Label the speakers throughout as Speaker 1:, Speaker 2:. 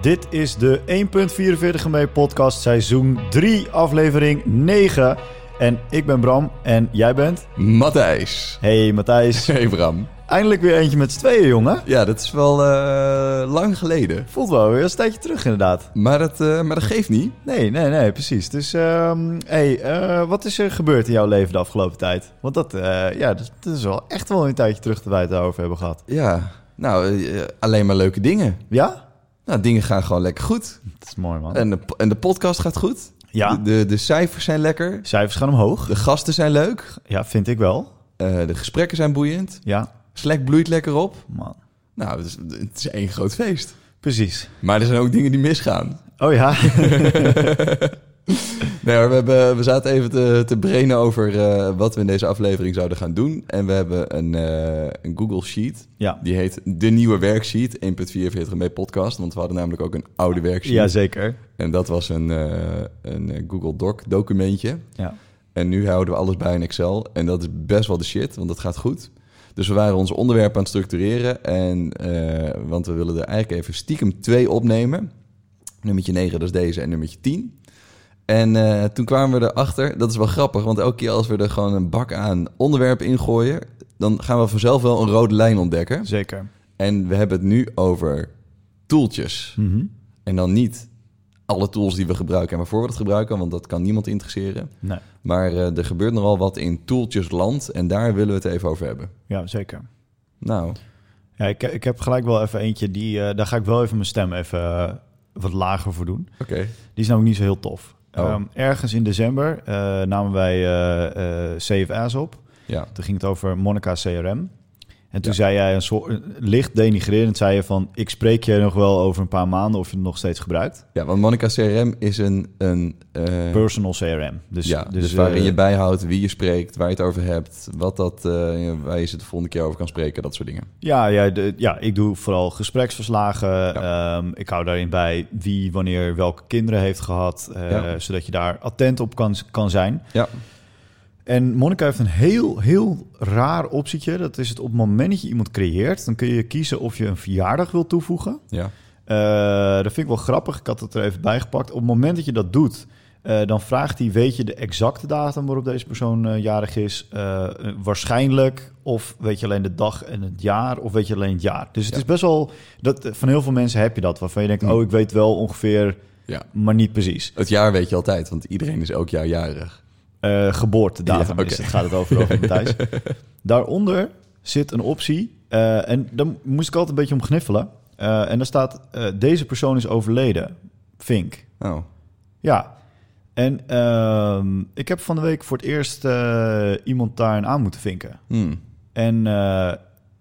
Speaker 1: Dit is de 1.44 GB podcast seizoen 3, aflevering 9. En ik ben Bram en jij bent?
Speaker 2: Matthijs.
Speaker 1: Hey Matthijs.
Speaker 2: Hey Bram.
Speaker 1: Eindelijk weer eentje met z'n tweeën, jongen.
Speaker 2: Ja, dat is wel eh, lang geleden.
Speaker 1: Voelt wel weer een tijdje terug inderdaad.
Speaker 2: Maar dat, eh, maar dat geeft niet.
Speaker 1: Nee, nee, nee, precies. Dus ehm, hey, eh, wat is er gebeurd in jouw leven de afgelopen tijd? Want dat, eh, ja, dat, dat is wel echt wel een tijdje terug dat wij het daarover hebben gehad.
Speaker 2: Ja, nou, eh, alleen maar leuke dingen.
Speaker 1: Ja?
Speaker 2: Nou, dingen gaan gewoon lekker goed.
Speaker 1: Dat is mooi, man.
Speaker 2: En de, en de podcast gaat goed.
Speaker 1: Ja.
Speaker 2: De, de, de cijfers zijn lekker.
Speaker 1: Cijfers gaan omhoog.
Speaker 2: De gasten zijn leuk.
Speaker 1: Ja, vind ik wel.
Speaker 2: Eh, de gesprekken zijn boeiend.
Speaker 1: Ja,
Speaker 2: Slack bloeit lekker op.
Speaker 1: man.
Speaker 2: Nou, het is, het is één groot feest.
Speaker 1: Precies.
Speaker 2: Maar er zijn ook dingen die misgaan.
Speaker 1: Oh ja.
Speaker 2: Nee, hoor, we, hebben, we zaten even te, te brainen over eh, wat we in deze aflevering zouden gaan doen. En we hebben een, eh, een Google Sheet.
Speaker 1: Ja.
Speaker 2: Die heet De Nieuwe Werksheet 1.44 mee podcast. Want we hadden namelijk ook een oude werksheet.
Speaker 1: Jazeker.
Speaker 2: En dat was een, eh, een eh, Google Doc documentje.
Speaker 1: Ja.
Speaker 2: En nu houden we alles bij in Excel. En dat is best wel de shit, want dat gaat goed. Dus we waren ons onderwerp aan het structureren. En, eh, want we willen er eigenlijk even stiekem twee opnemen. Nummertje 9, dat is deze. En nummertje 10. En eh, toen kwamen we erachter, dat is wel grappig, want elke keer als we er gewoon een bak aan onderwerpen ingooien, dan gaan we vanzelf wel een rode lijn ontdekken.
Speaker 1: Zeker.
Speaker 2: En we hebben het nu over toeltjes. En dan niet alle tools die we gebruiken en waarvoor we het gebruiken, want dat kan niemand interesseren.
Speaker 1: Nee.
Speaker 2: Maar eh, er gebeurt nogal wat in toeltjesland en daar willen we het even over hebben.
Speaker 1: Ja, zeker.
Speaker 2: Nou,
Speaker 1: Ja, ik, ik heb gelijk wel even eentje. Die, eh, daar ga ik wel even mijn stem even eh, wat lager voor doen.
Speaker 2: oké.
Speaker 1: Die is namelijk niet zo heel tof.
Speaker 2: Oh.
Speaker 1: Ehm, ergens in december eh, namen wij eh, eh, Save As op.
Speaker 2: Ja.
Speaker 1: Toen ging het over Monica CRM. En toen
Speaker 2: Ja.
Speaker 1: zei jij een soort eh, licht denigrerend zei je van ik spreek je nog wel over een paar maanden of je het nog steeds gebruikt.
Speaker 2: ja, want Monica CRM is een... een eh,
Speaker 1: Personal CRM. Dus,
Speaker 2: ja, dus,
Speaker 1: eh,
Speaker 2: waarin je bijhoudt wie je spreekt, waar je het over hebt, wat dat, eh, waar je ze de volgende keer over kan spreken, dat soort dingen.
Speaker 1: Ja, ja, de- ja, ik doe vooral gespreksverslagen. Ehm, ik hou daarin bij wie wanneer welke kinderen heeft gehad. eh,
Speaker 2: Ja.
Speaker 1: Zodat je daar attent op kan, kan zijn.
Speaker 2: Ja,
Speaker 1: En Monica heeft een heel, heel raar optietje. Dat is het op het moment dat je iemand creëert... dan kun je kiezen of je een verjaardag wil toevoegen.
Speaker 2: ja,
Speaker 1: Eh, dat vind ik wel grappig. Ik had het er even bij gepakt. Op het moment dat je dat doet, eh, dan vraagt hij: weet je de exacte datum waarop deze persoon eh, jarig is? Eh, eh, waarschijnlijk. Of weet je alleen de dag en het jaar? Of weet je alleen het jaar? Dus het
Speaker 2: Ja.
Speaker 1: is best wel. Dat, eh, van heel veel mensen heb je dat. Waarvan je denkt:
Speaker 2: Mm.
Speaker 1: oh, ik weet wel ongeveer,
Speaker 2: ja.
Speaker 1: maar niet precies.
Speaker 2: Het jaar weet je altijd, want iedereen is elk jaar jarig.
Speaker 1: Eh, geboortedatum
Speaker 2: Ja, oké.
Speaker 1: is het, gaat het over over Matthijs. Daaronder zit een optie, eh, en daar moest ik altijd een beetje om gniffelen. Eh, en daar staat, eh, deze persoon is overleden, Vink.
Speaker 2: Oh,
Speaker 1: Ja. En ehm, ik heb van de week voor het eerst eh, iemand daarin aan moeten vinken.
Speaker 2: hmm.
Speaker 1: En eh,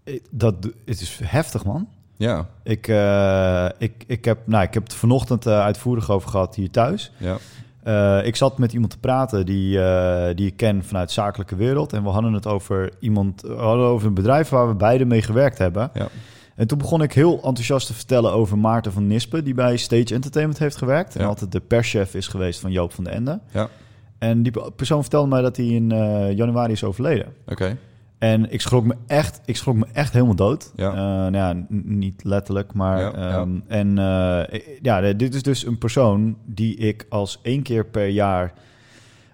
Speaker 1: ik- dat, het is heftig, man.
Speaker 2: ja,
Speaker 1: Ik, eh, ik, ik, heb, nou, ik heb het vanochtend eh, uitvoerig over gehad hier thuis.
Speaker 2: ja,
Speaker 1: Eh, ik zat met iemand te praten die, eh, die ik ken vanuit de zakelijke wereld. En we hadden het over iemand, we hadden over een bedrijf waar we beide mee gewerkt hebben.
Speaker 2: ja,
Speaker 1: En toen begon ik heel enthousiast te vertellen over Maarten van Nispen, die bij Stage Entertainment heeft gewerkt. En
Speaker 2: Ja.
Speaker 1: altijd de perschef is geweest van Joop van den Ende.
Speaker 2: ja,
Speaker 1: En die pe- persoon vertelde mij dat hij in eh, januari is overleden.
Speaker 2: oké.
Speaker 1: En ik schrok me echt, ik schrok me echt helemaal dood.
Speaker 2: Ja.
Speaker 1: Eh, nou ja, n- niet letterlijk, maar...
Speaker 2: Ja, ja.
Speaker 1: ehm, En eh, ja, dit is dus een persoon die ik als één keer per jaar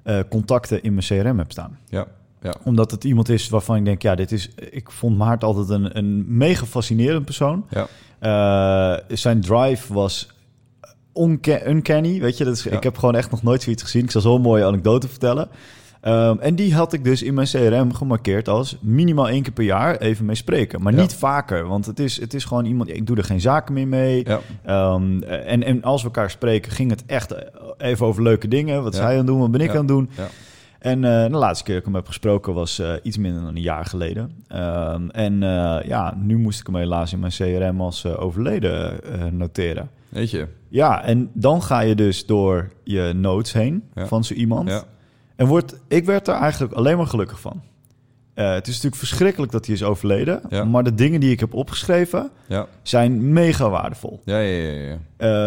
Speaker 1: eh, contacten in mijn CRM heb staan.
Speaker 2: Ja, ja,
Speaker 1: Omdat het iemand is waarvan ik denk, ja, dit is... Ik vond Maarten altijd een, een mega fascinerend persoon.
Speaker 2: ja,
Speaker 1: Eh, zijn drive was unca- uncanny, weet je. Dat is,
Speaker 2: Ja.
Speaker 1: Ik heb gewoon echt nog nooit zoiets gezien. Ik zal zo'n mooie anekdote vertellen. Ehm, en die had ik dus in mijn CRM gemarkeerd als minimaal één keer per jaar even mee spreken. Maar
Speaker 2: Ja.
Speaker 1: niet vaker, want het is, het is gewoon iemand... Ik doe er geen zaken meer mee.
Speaker 2: ja,
Speaker 1: Ehm, en, en als we elkaar spreken, ging het echt even over leuke dingen. Wat
Speaker 2: Ja.
Speaker 1: is hij aan het doen, wat ben ik
Speaker 2: Ja.
Speaker 1: aan het doen?
Speaker 2: ja.
Speaker 1: En eh, de laatste keer dat ik hem heb gesproken was eh, iets minder dan een jaar geleden. Ehm, en eh, ja, nu moest ik hem helaas in mijn CRM als eh, overleden eh, noteren.
Speaker 2: Weet je,
Speaker 1: Ja, en dan ga je dus door je notes heen
Speaker 2: Ja.
Speaker 1: van zo iemand.
Speaker 2: ja,
Speaker 1: En wordt, ik werd er eigenlijk alleen maar gelukkig van. Eh, het is natuurlijk verschrikkelijk dat hij is overleden.
Speaker 2: Ja.
Speaker 1: Maar de dingen die ik heb opgeschreven
Speaker 2: ja,
Speaker 1: zijn mega waardevol.
Speaker 2: ja, ja, ja, ja.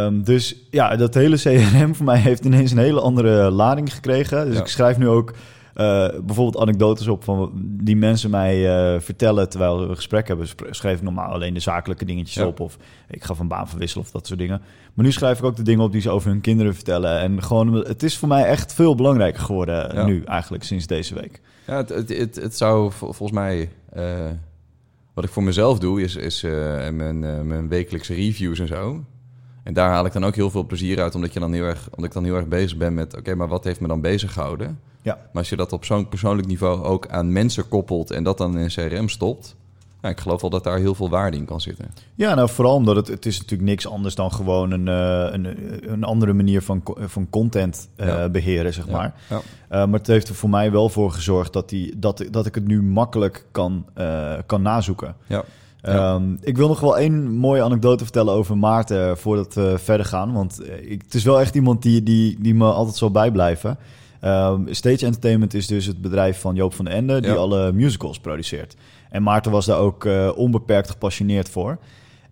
Speaker 1: Ehm, dus ja, dat hele CRM voor mij heeft ineens een hele andere lading gekregen. Dus
Speaker 2: Ja.
Speaker 1: ik schrijf nu ook eh, bijvoorbeeld anekdotes op van die mensen mij eh, vertellen terwijl we een gesprek hebben. Sp- Schreef ik normaal alleen de zakelijke dingetjes
Speaker 2: Ja.
Speaker 1: op of ik ga van baan verwisselen of dat soort dingen. Maar nu schrijf ik ook de dingen op die ze over hun kinderen vertellen. En gewoon, het is voor mij echt veel belangrijker geworden
Speaker 2: Ja.
Speaker 1: nu eigenlijk sinds deze week.
Speaker 2: Ja, het, het, het, het zou vol- volgens mij. eh, wat ik voor mezelf doe, is, is eh, mijn, eh, mijn wekelijkse reviews en zo. En daar haal ik dan ook heel veel plezier uit, omdat, je dan heel erg, omdat ik dan heel erg bezig ben met: oké, maar wat heeft me dan bezig gehouden?
Speaker 1: Ja.
Speaker 2: Maar als je dat op zo'n persoonlijk niveau ook aan mensen koppelt en dat dan in CRM stopt. Nou, ik geloof wel dat daar heel veel waarde in kan zitten.
Speaker 1: Ja, nou vooral omdat het, het is natuurlijk niks anders dan gewoon een, eh, een, een andere manier van, co- van content eh,
Speaker 2: Ja.
Speaker 1: beheren, zeg maar.
Speaker 2: Ja.
Speaker 1: Eh, maar het heeft er voor mij wel voor gezorgd dat, die, dat, dat ik het nu makkelijk kan, eh, kan nazoeken.
Speaker 2: Ja.
Speaker 1: Ehm, ik wil nog wel één mooie anekdote vertellen over Maarten eh, voordat we verder gaan. Want eh, ik, het is wel echt iemand die, die, die me altijd zal bijblijven. Ehm, Stage Entertainment is dus het bedrijf van Joop van den Ende, die
Speaker 2: Ja.
Speaker 1: alle musicals produceert. En Maarten was daar ook eh, onbeperkt gepassioneerd voor.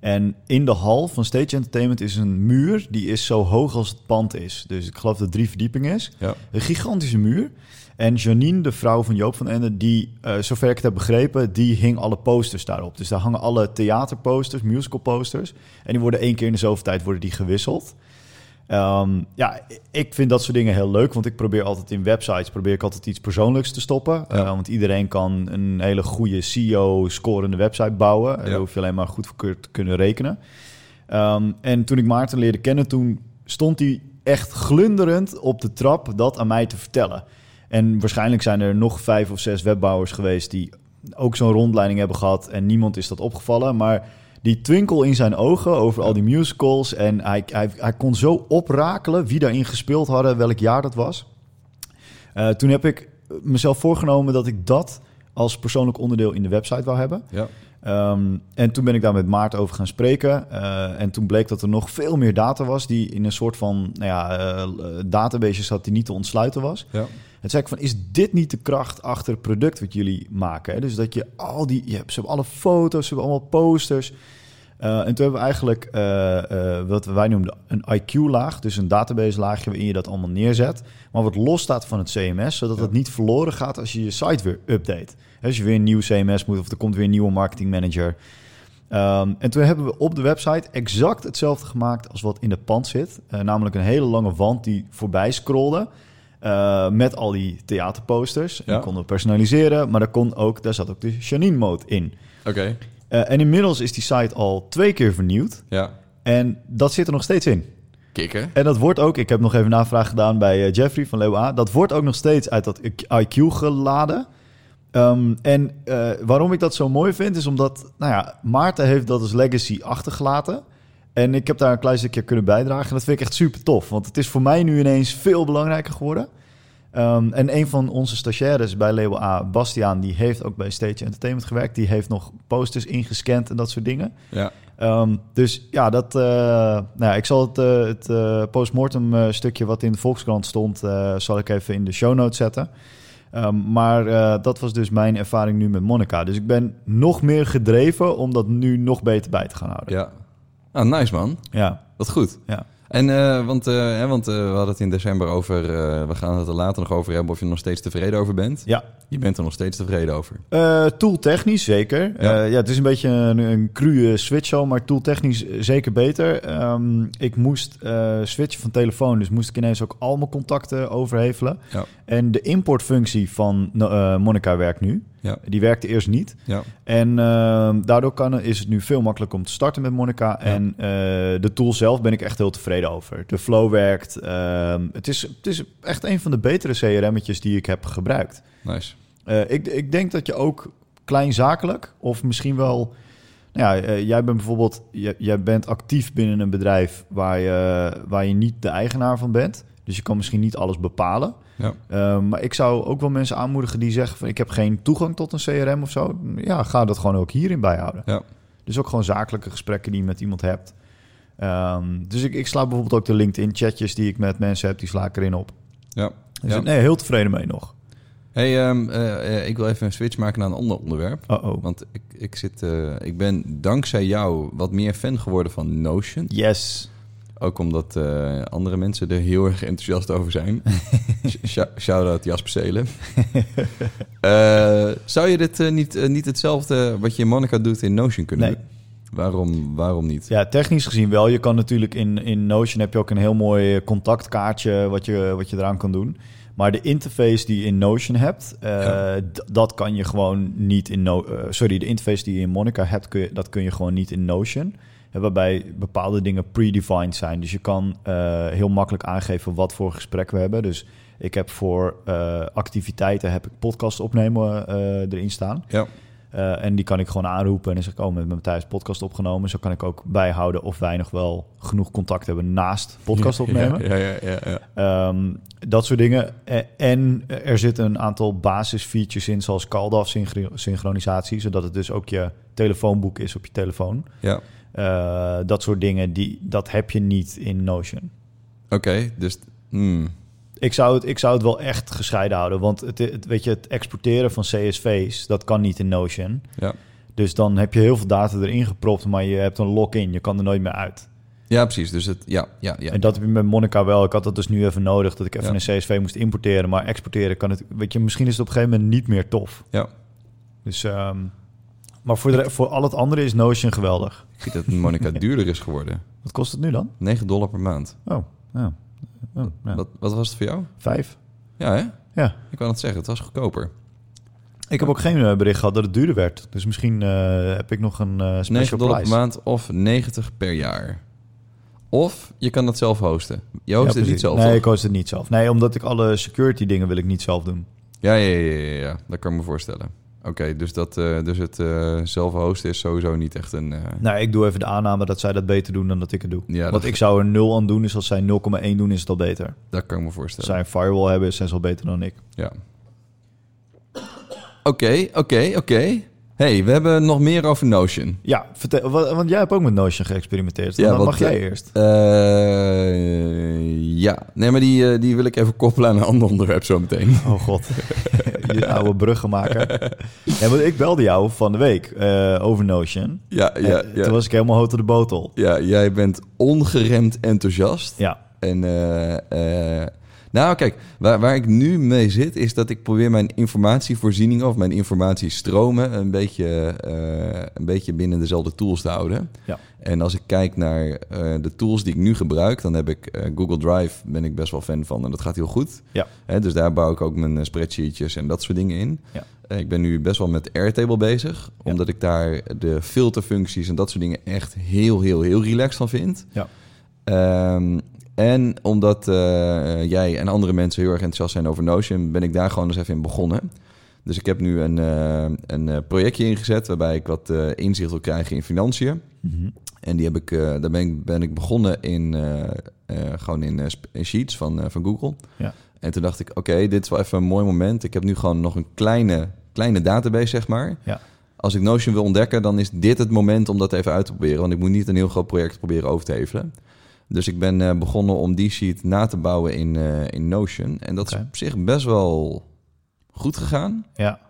Speaker 1: En in de hal van Stage Entertainment is een muur die is zo hoog als het pand is. Dus ik geloof dat het drie verdiepingen is.
Speaker 2: Ja.
Speaker 1: Een gigantische muur. En Janine, de vrouw van Joop van Ende, die, eh, zover ik het heb begrepen, die hing alle posters daarop. Dus daar hangen alle theaterposters, musicalposters. En die worden één keer in de zoveel tijd worden die gewisseld. Ehm, ja, ik vind dat soort dingen heel leuk, want ik probeer altijd in websites probeer ik altijd iets persoonlijks te stoppen. Eh, want iedereen kan een hele goede SEO-scorende website bouwen.
Speaker 2: Ja.
Speaker 1: Daar hoef je alleen maar goedverkeerd te kunnen rekenen. Ehm, en toen ik Maarten leerde kennen, toen stond hij echt glunderend op de trap dat aan mij te vertellen. En waarschijnlijk zijn er nog vijf of zes webbouwers geweest die ook zo'n rondleiding hebben gehad en niemand is dat opgevallen. Maar die twinkel in zijn ogen over al die musicals en hij, hij, hij kon zo oprakelen wie daarin gespeeld hadden, welk jaar dat was. Eh, toen heb ik mezelf voorgenomen dat ik dat als persoonlijk onderdeel in de website wou hebben.
Speaker 2: Ja.
Speaker 1: Ehm, en toen ben ik daar met Maarten over gaan spreken. Eh, en toen bleek dat er nog veel meer data was die in een soort van nou ja, eh, database zat die niet te ontsluiten was.
Speaker 2: Ja.
Speaker 1: Het zei ik van, is dit niet de kracht achter het product wat jullie maken? hè? Dus dat je al die, je hebt, ze hebben alle foto's, ze hebben allemaal posters. Eh, en toen hebben we eigenlijk eh, eh, wat wij noemden een IQ-laag, dus een database-laagje waarin je dat allemaal neerzet, maar wat los staat van het CMS, zodat
Speaker 2: Ja.
Speaker 1: het niet verloren gaat als je je site weer update. Hè, Als je weer een nieuw CMS moet of er komt weer een nieuwe marketing manager. Ehm, en toen hebben we op de website exact hetzelfde gemaakt als wat in het pand zit, Eh, namelijk een hele lange wand die voorbij scrolde. eh, met al die theaterposters. En
Speaker 2: Ja.
Speaker 1: Die konden we personaliseren. Maar daar, kon ook, daar zat ook de Janine-mode in.
Speaker 2: Oké.
Speaker 1: Eh, en inmiddels is die site al twee keer vernieuwd.
Speaker 2: Ja.
Speaker 1: En dat zit er nog steeds in.
Speaker 2: Kikken.
Speaker 1: En dat wordt ook, ik heb nog even navraag gedaan bij eh, Jeffrey van Leeuwen A. Dat wordt ook nog steeds uit dat IQ geladen. Ehm, en eh, waarom ik dat zo mooi vind, is omdat nou ja, Maarten heeft dat als legacy achtergelaten. En ik heb daar een klein stukje kunnen bijdragen. En dat vind ik echt super tof. Want het is voor mij nu ineens veel belangrijker geworden. Ehm, en een van onze stagiaires bij Leeuwen A, Bastiaan, die heeft ook bij Stage Entertainment gewerkt. Die heeft nog posters ingescand en dat soort dingen.
Speaker 2: Ja.
Speaker 1: Ehm, dus ja, dat, eh, nou ja, ik zal het, eh, het eh, postmortem eh, stukje wat in de Volkskrant stond, eh, zal ik even in de show notes zetten. Ehm, maar eh, dat was dus mijn ervaring nu met Monica. Dus ik ben nog meer gedreven om dat nu nog beter bij te gaan houden.
Speaker 2: Ja. Ah, nice man.
Speaker 1: Ja,
Speaker 2: Wat goed.
Speaker 1: ja.
Speaker 2: En eh, want, eh, hè, want eh, we hadden het in december over, eh, we gaan het er later nog over hebben of je er nog steeds tevreden over bent.
Speaker 1: ja.
Speaker 2: Je bent er nog steeds tevreden over.
Speaker 1: Eh, tooltechnisch zeker. Eh, Ja.
Speaker 2: Ja.
Speaker 1: het is een beetje een, een crue switch zo, maar tooltechnisch eh, zeker beter. Ehm, ik moest eh, switchen van telefoon, dus moest ik ineens ook al mijn contacten overhevelen.
Speaker 2: Ja.
Speaker 1: En de importfunctie van eh Monica werkt nu.
Speaker 2: Ja.
Speaker 1: Die werkte eerst niet.
Speaker 2: Ja,
Speaker 1: En ehm, daardoor kan, is het nu veel makkelijker om te starten met Monica. En eh, de tool zelf ben ik echt heel tevreden over. De flow werkt. ehm, het, is, het is echt een van de betere CRM'tjes die ik heb gebruikt.
Speaker 2: nice.
Speaker 1: Eh, ik, ik denk dat je ook kleinzakelijk of misschien wel. Nou ja, eh, jij bent bijvoorbeeld, jij, jij bent actief binnen een bedrijf waar je, waar je niet de eigenaar van bent. Dus je kan misschien niet alles bepalen.
Speaker 2: Ja.
Speaker 1: Eh, maar ik zou ook wel mensen aanmoedigen die zeggen van ik heb geen toegang tot een CRM of zo. Ja, ga dat gewoon ook hierin bijhouden.
Speaker 2: Ja.
Speaker 1: Dus ook gewoon zakelijke gesprekken die je met iemand hebt. Ehm, dus ik, ik sla bijvoorbeeld ook de LinkedIn chatjes die ik met mensen heb, die sla ik erin op.
Speaker 2: Ja.
Speaker 1: Dus
Speaker 2: Ja.
Speaker 1: nee, heel tevreden mee nog.
Speaker 2: Hey, ehm, eh, eh, ik wil even een switch maken naar een ander onderwerp.
Speaker 1: Oh oh.
Speaker 2: Want ik, ik, zit, eh, ik ben dankzij jou wat meer fan geworden van Notion.
Speaker 1: Yes.
Speaker 2: Ook omdat eh, andere mensen er heel erg enthousiast over zijn. Shout-out Jasper Zelen. Eh, zou je dit eh, niet, eh, niet hetzelfde wat je in Monaco doet in Notion kunnen
Speaker 1: Nee.
Speaker 2: doen? Waarom, waarom niet?
Speaker 1: Ja, technisch gezien wel. Je kan natuurlijk in, in Notion heb je ook een heel mooi eh, contactkaartje wat je, wat je eraan kan doen. Maar de interface die je in Notion hebt, eh,
Speaker 2: Ja.
Speaker 1: d- dat kan je gewoon niet in No- eh, sorry, de interface die je in Monica hebt, kun je, dat kun je gewoon niet in Notion. Hè, Waarbij bepaalde dingen predefined zijn. Dus je kan eh, heel makkelijk aangeven wat voor gesprek we hebben. Dus ik heb voor eh, activiteiten heb ik podcast opnemen eh, erin staan.
Speaker 2: Ja.
Speaker 1: Eh, en die kan ik gewoon aanroepen en dan zeg ik, oh, met mijn Matthijs podcast opgenomen. Zo kan ik ook bijhouden of wij nog wel genoeg contact hebben naast podcast opnemen.
Speaker 2: Ja, ja, ja, ja, ja.
Speaker 1: Ehm, dat soort dingen. E- En er zitten een aantal basisfeatures in, zoals call-off synchro- synchronisatie, zodat het dus ook je telefoonboek is op je telefoon.
Speaker 2: Ja.
Speaker 1: Eh, dat soort dingen, die, dat heb je niet in Notion.
Speaker 2: Oké, dus... hmm.
Speaker 1: Ik zou, het, ik zou het wel echt gescheiden houden, want het, het, weet je, het exporteren van CSV's, dat kan niet in Notion.
Speaker 2: Ja.
Speaker 1: Dus dan heb je heel veel data erin gepropt, maar je hebt een lock-in. Je kan er nooit meer uit.
Speaker 2: ja, precies. Dus het... Ja, ja, ja.
Speaker 1: En dat heb je met Monica wel. Ik had dat dus nu even nodig, dat ik even
Speaker 2: Ja.
Speaker 1: een CSV moest importeren. Maar exporteren kan het... Weet je, misschien is het op een gegeven moment niet meer tof.
Speaker 2: Ja.
Speaker 1: Dus, ehm, maar voor, de, re- voor al het andere is Notion geweldig.
Speaker 2: Ik zie dat Monica duurder is geworden.
Speaker 1: Wat kost het nu dan?
Speaker 2: 9 dollar per maand.
Speaker 1: Oh, ja. Oh, ja.
Speaker 2: Wat, wat was het voor jou?
Speaker 1: Vijf.
Speaker 2: Ja, hè?
Speaker 1: Ja.
Speaker 2: Ik kan het zeggen. Het was goedkoper.
Speaker 1: Ik heb ook geen eh, bericht gehad dat het duurder werd. Dus misschien eh, heb ik nog een eh
Speaker 2: 9
Speaker 1: special
Speaker 2: dollar per
Speaker 1: price.
Speaker 2: maand of 90 per jaar. Of je kan dat zelf hosten. Je
Speaker 1: Ja,
Speaker 2: host het
Speaker 1: precies.
Speaker 2: niet zelf.
Speaker 1: Nee,
Speaker 2: toch?
Speaker 1: ik koos het niet zelf. Nee, omdat ik alle security dingen wil ik niet zelf doen.
Speaker 2: Ja, ja, ja, ja, ja, dat kan ik me voorstellen. Oké, dus, dat, eh, dus het eh, zelf hosten is sowieso niet echt een. eh,
Speaker 1: Nou, ik doe even de aanname dat zij dat beter doen dan dat ik het doe.
Speaker 2: Ja,
Speaker 1: Want
Speaker 2: dat-
Speaker 1: ik zou er 0 aan doen, dus als zij 0,1 doen, is het al beter.
Speaker 2: Dat kan ik me
Speaker 1: Als
Speaker 2: voorstellen.
Speaker 1: zij een firewall hebben, zijn ze al beter dan ik.
Speaker 2: Ja. Oké, oké, oké. Hey, we hebben nog meer over Notion.
Speaker 1: Ja, vertel, wa- want jij hebt ook met Notion geëxperimenteerd.
Speaker 2: Ja,
Speaker 1: Ja, dan
Speaker 2: wat,
Speaker 1: mag jij
Speaker 2: eh,
Speaker 1: eerst.
Speaker 2: Eh, ja, nee, maar die, eh, die wil ik even koppelen aan een ander onderwerp zo meteen.
Speaker 1: Oh god, je oude bruggen maken. Ja, want ik belde jou van de week eh, over Notion.
Speaker 2: Ja, ja,
Speaker 1: Eh, Toen
Speaker 2: ja.
Speaker 1: was ik helemaal hout op de botel.
Speaker 2: ja, jij bent ongeremd enthousiast.
Speaker 1: Ja,
Speaker 2: En, eh, eh, nou, kijk, waar, waar ik nu mee zit, is dat ik probeer mijn informatievoorzieningen of mijn informatiestromen een beetje, eh, een beetje binnen dezelfde tools te houden.
Speaker 1: Ja.
Speaker 2: En als ik kijk naar eh, de tools die ik nu gebruik, dan heb ik eh, Google Drive, ben ik best wel fan van en dat gaat heel goed.
Speaker 1: Ja.
Speaker 2: Hè, dus daar bouw ik ook mijn eh, spreadsheetjes en dat soort dingen in.
Speaker 1: Ja.
Speaker 2: Eh, ik ben nu best wel met Airtable bezig, omdat ik daar de filterfuncties en dat soort dingen echt heel, heel, heel relaxed van vind.
Speaker 1: ja,
Speaker 2: Ehm, en omdat eh, jij en andere mensen heel erg enthousiast zijn over Notion, ben ik daar gewoon eens even in begonnen. Dus ik heb nu een, eh, een eh, projectje ingezet waarbij ik wat eh, inzicht wil krijgen in financiën.
Speaker 1: Mhm.
Speaker 2: En die heb ik, eh, daar ben ik, ben ik begonnen in, eh, eh, gewoon in, eh, sp- in Sheets van, eh, van Google.
Speaker 1: Ja.
Speaker 2: En toen dacht ik, oké, dit is wel even een mooi moment. Ik heb nu gewoon nog een kleine, kleine database, zeg maar.
Speaker 1: Ja.
Speaker 2: Als ik Notion wil ontdekken, dan is dit het moment om dat even uit te proberen. Want ik moet niet een heel groot project proberen over te hevelen. Dus ik ben eh, begonnen om die sheet na te bouwen in, eh, in Notion. En dat is
Speaker 1: Oké.
Speaker 2: op zich best wel goed gegaan.
Speaker 1: ja,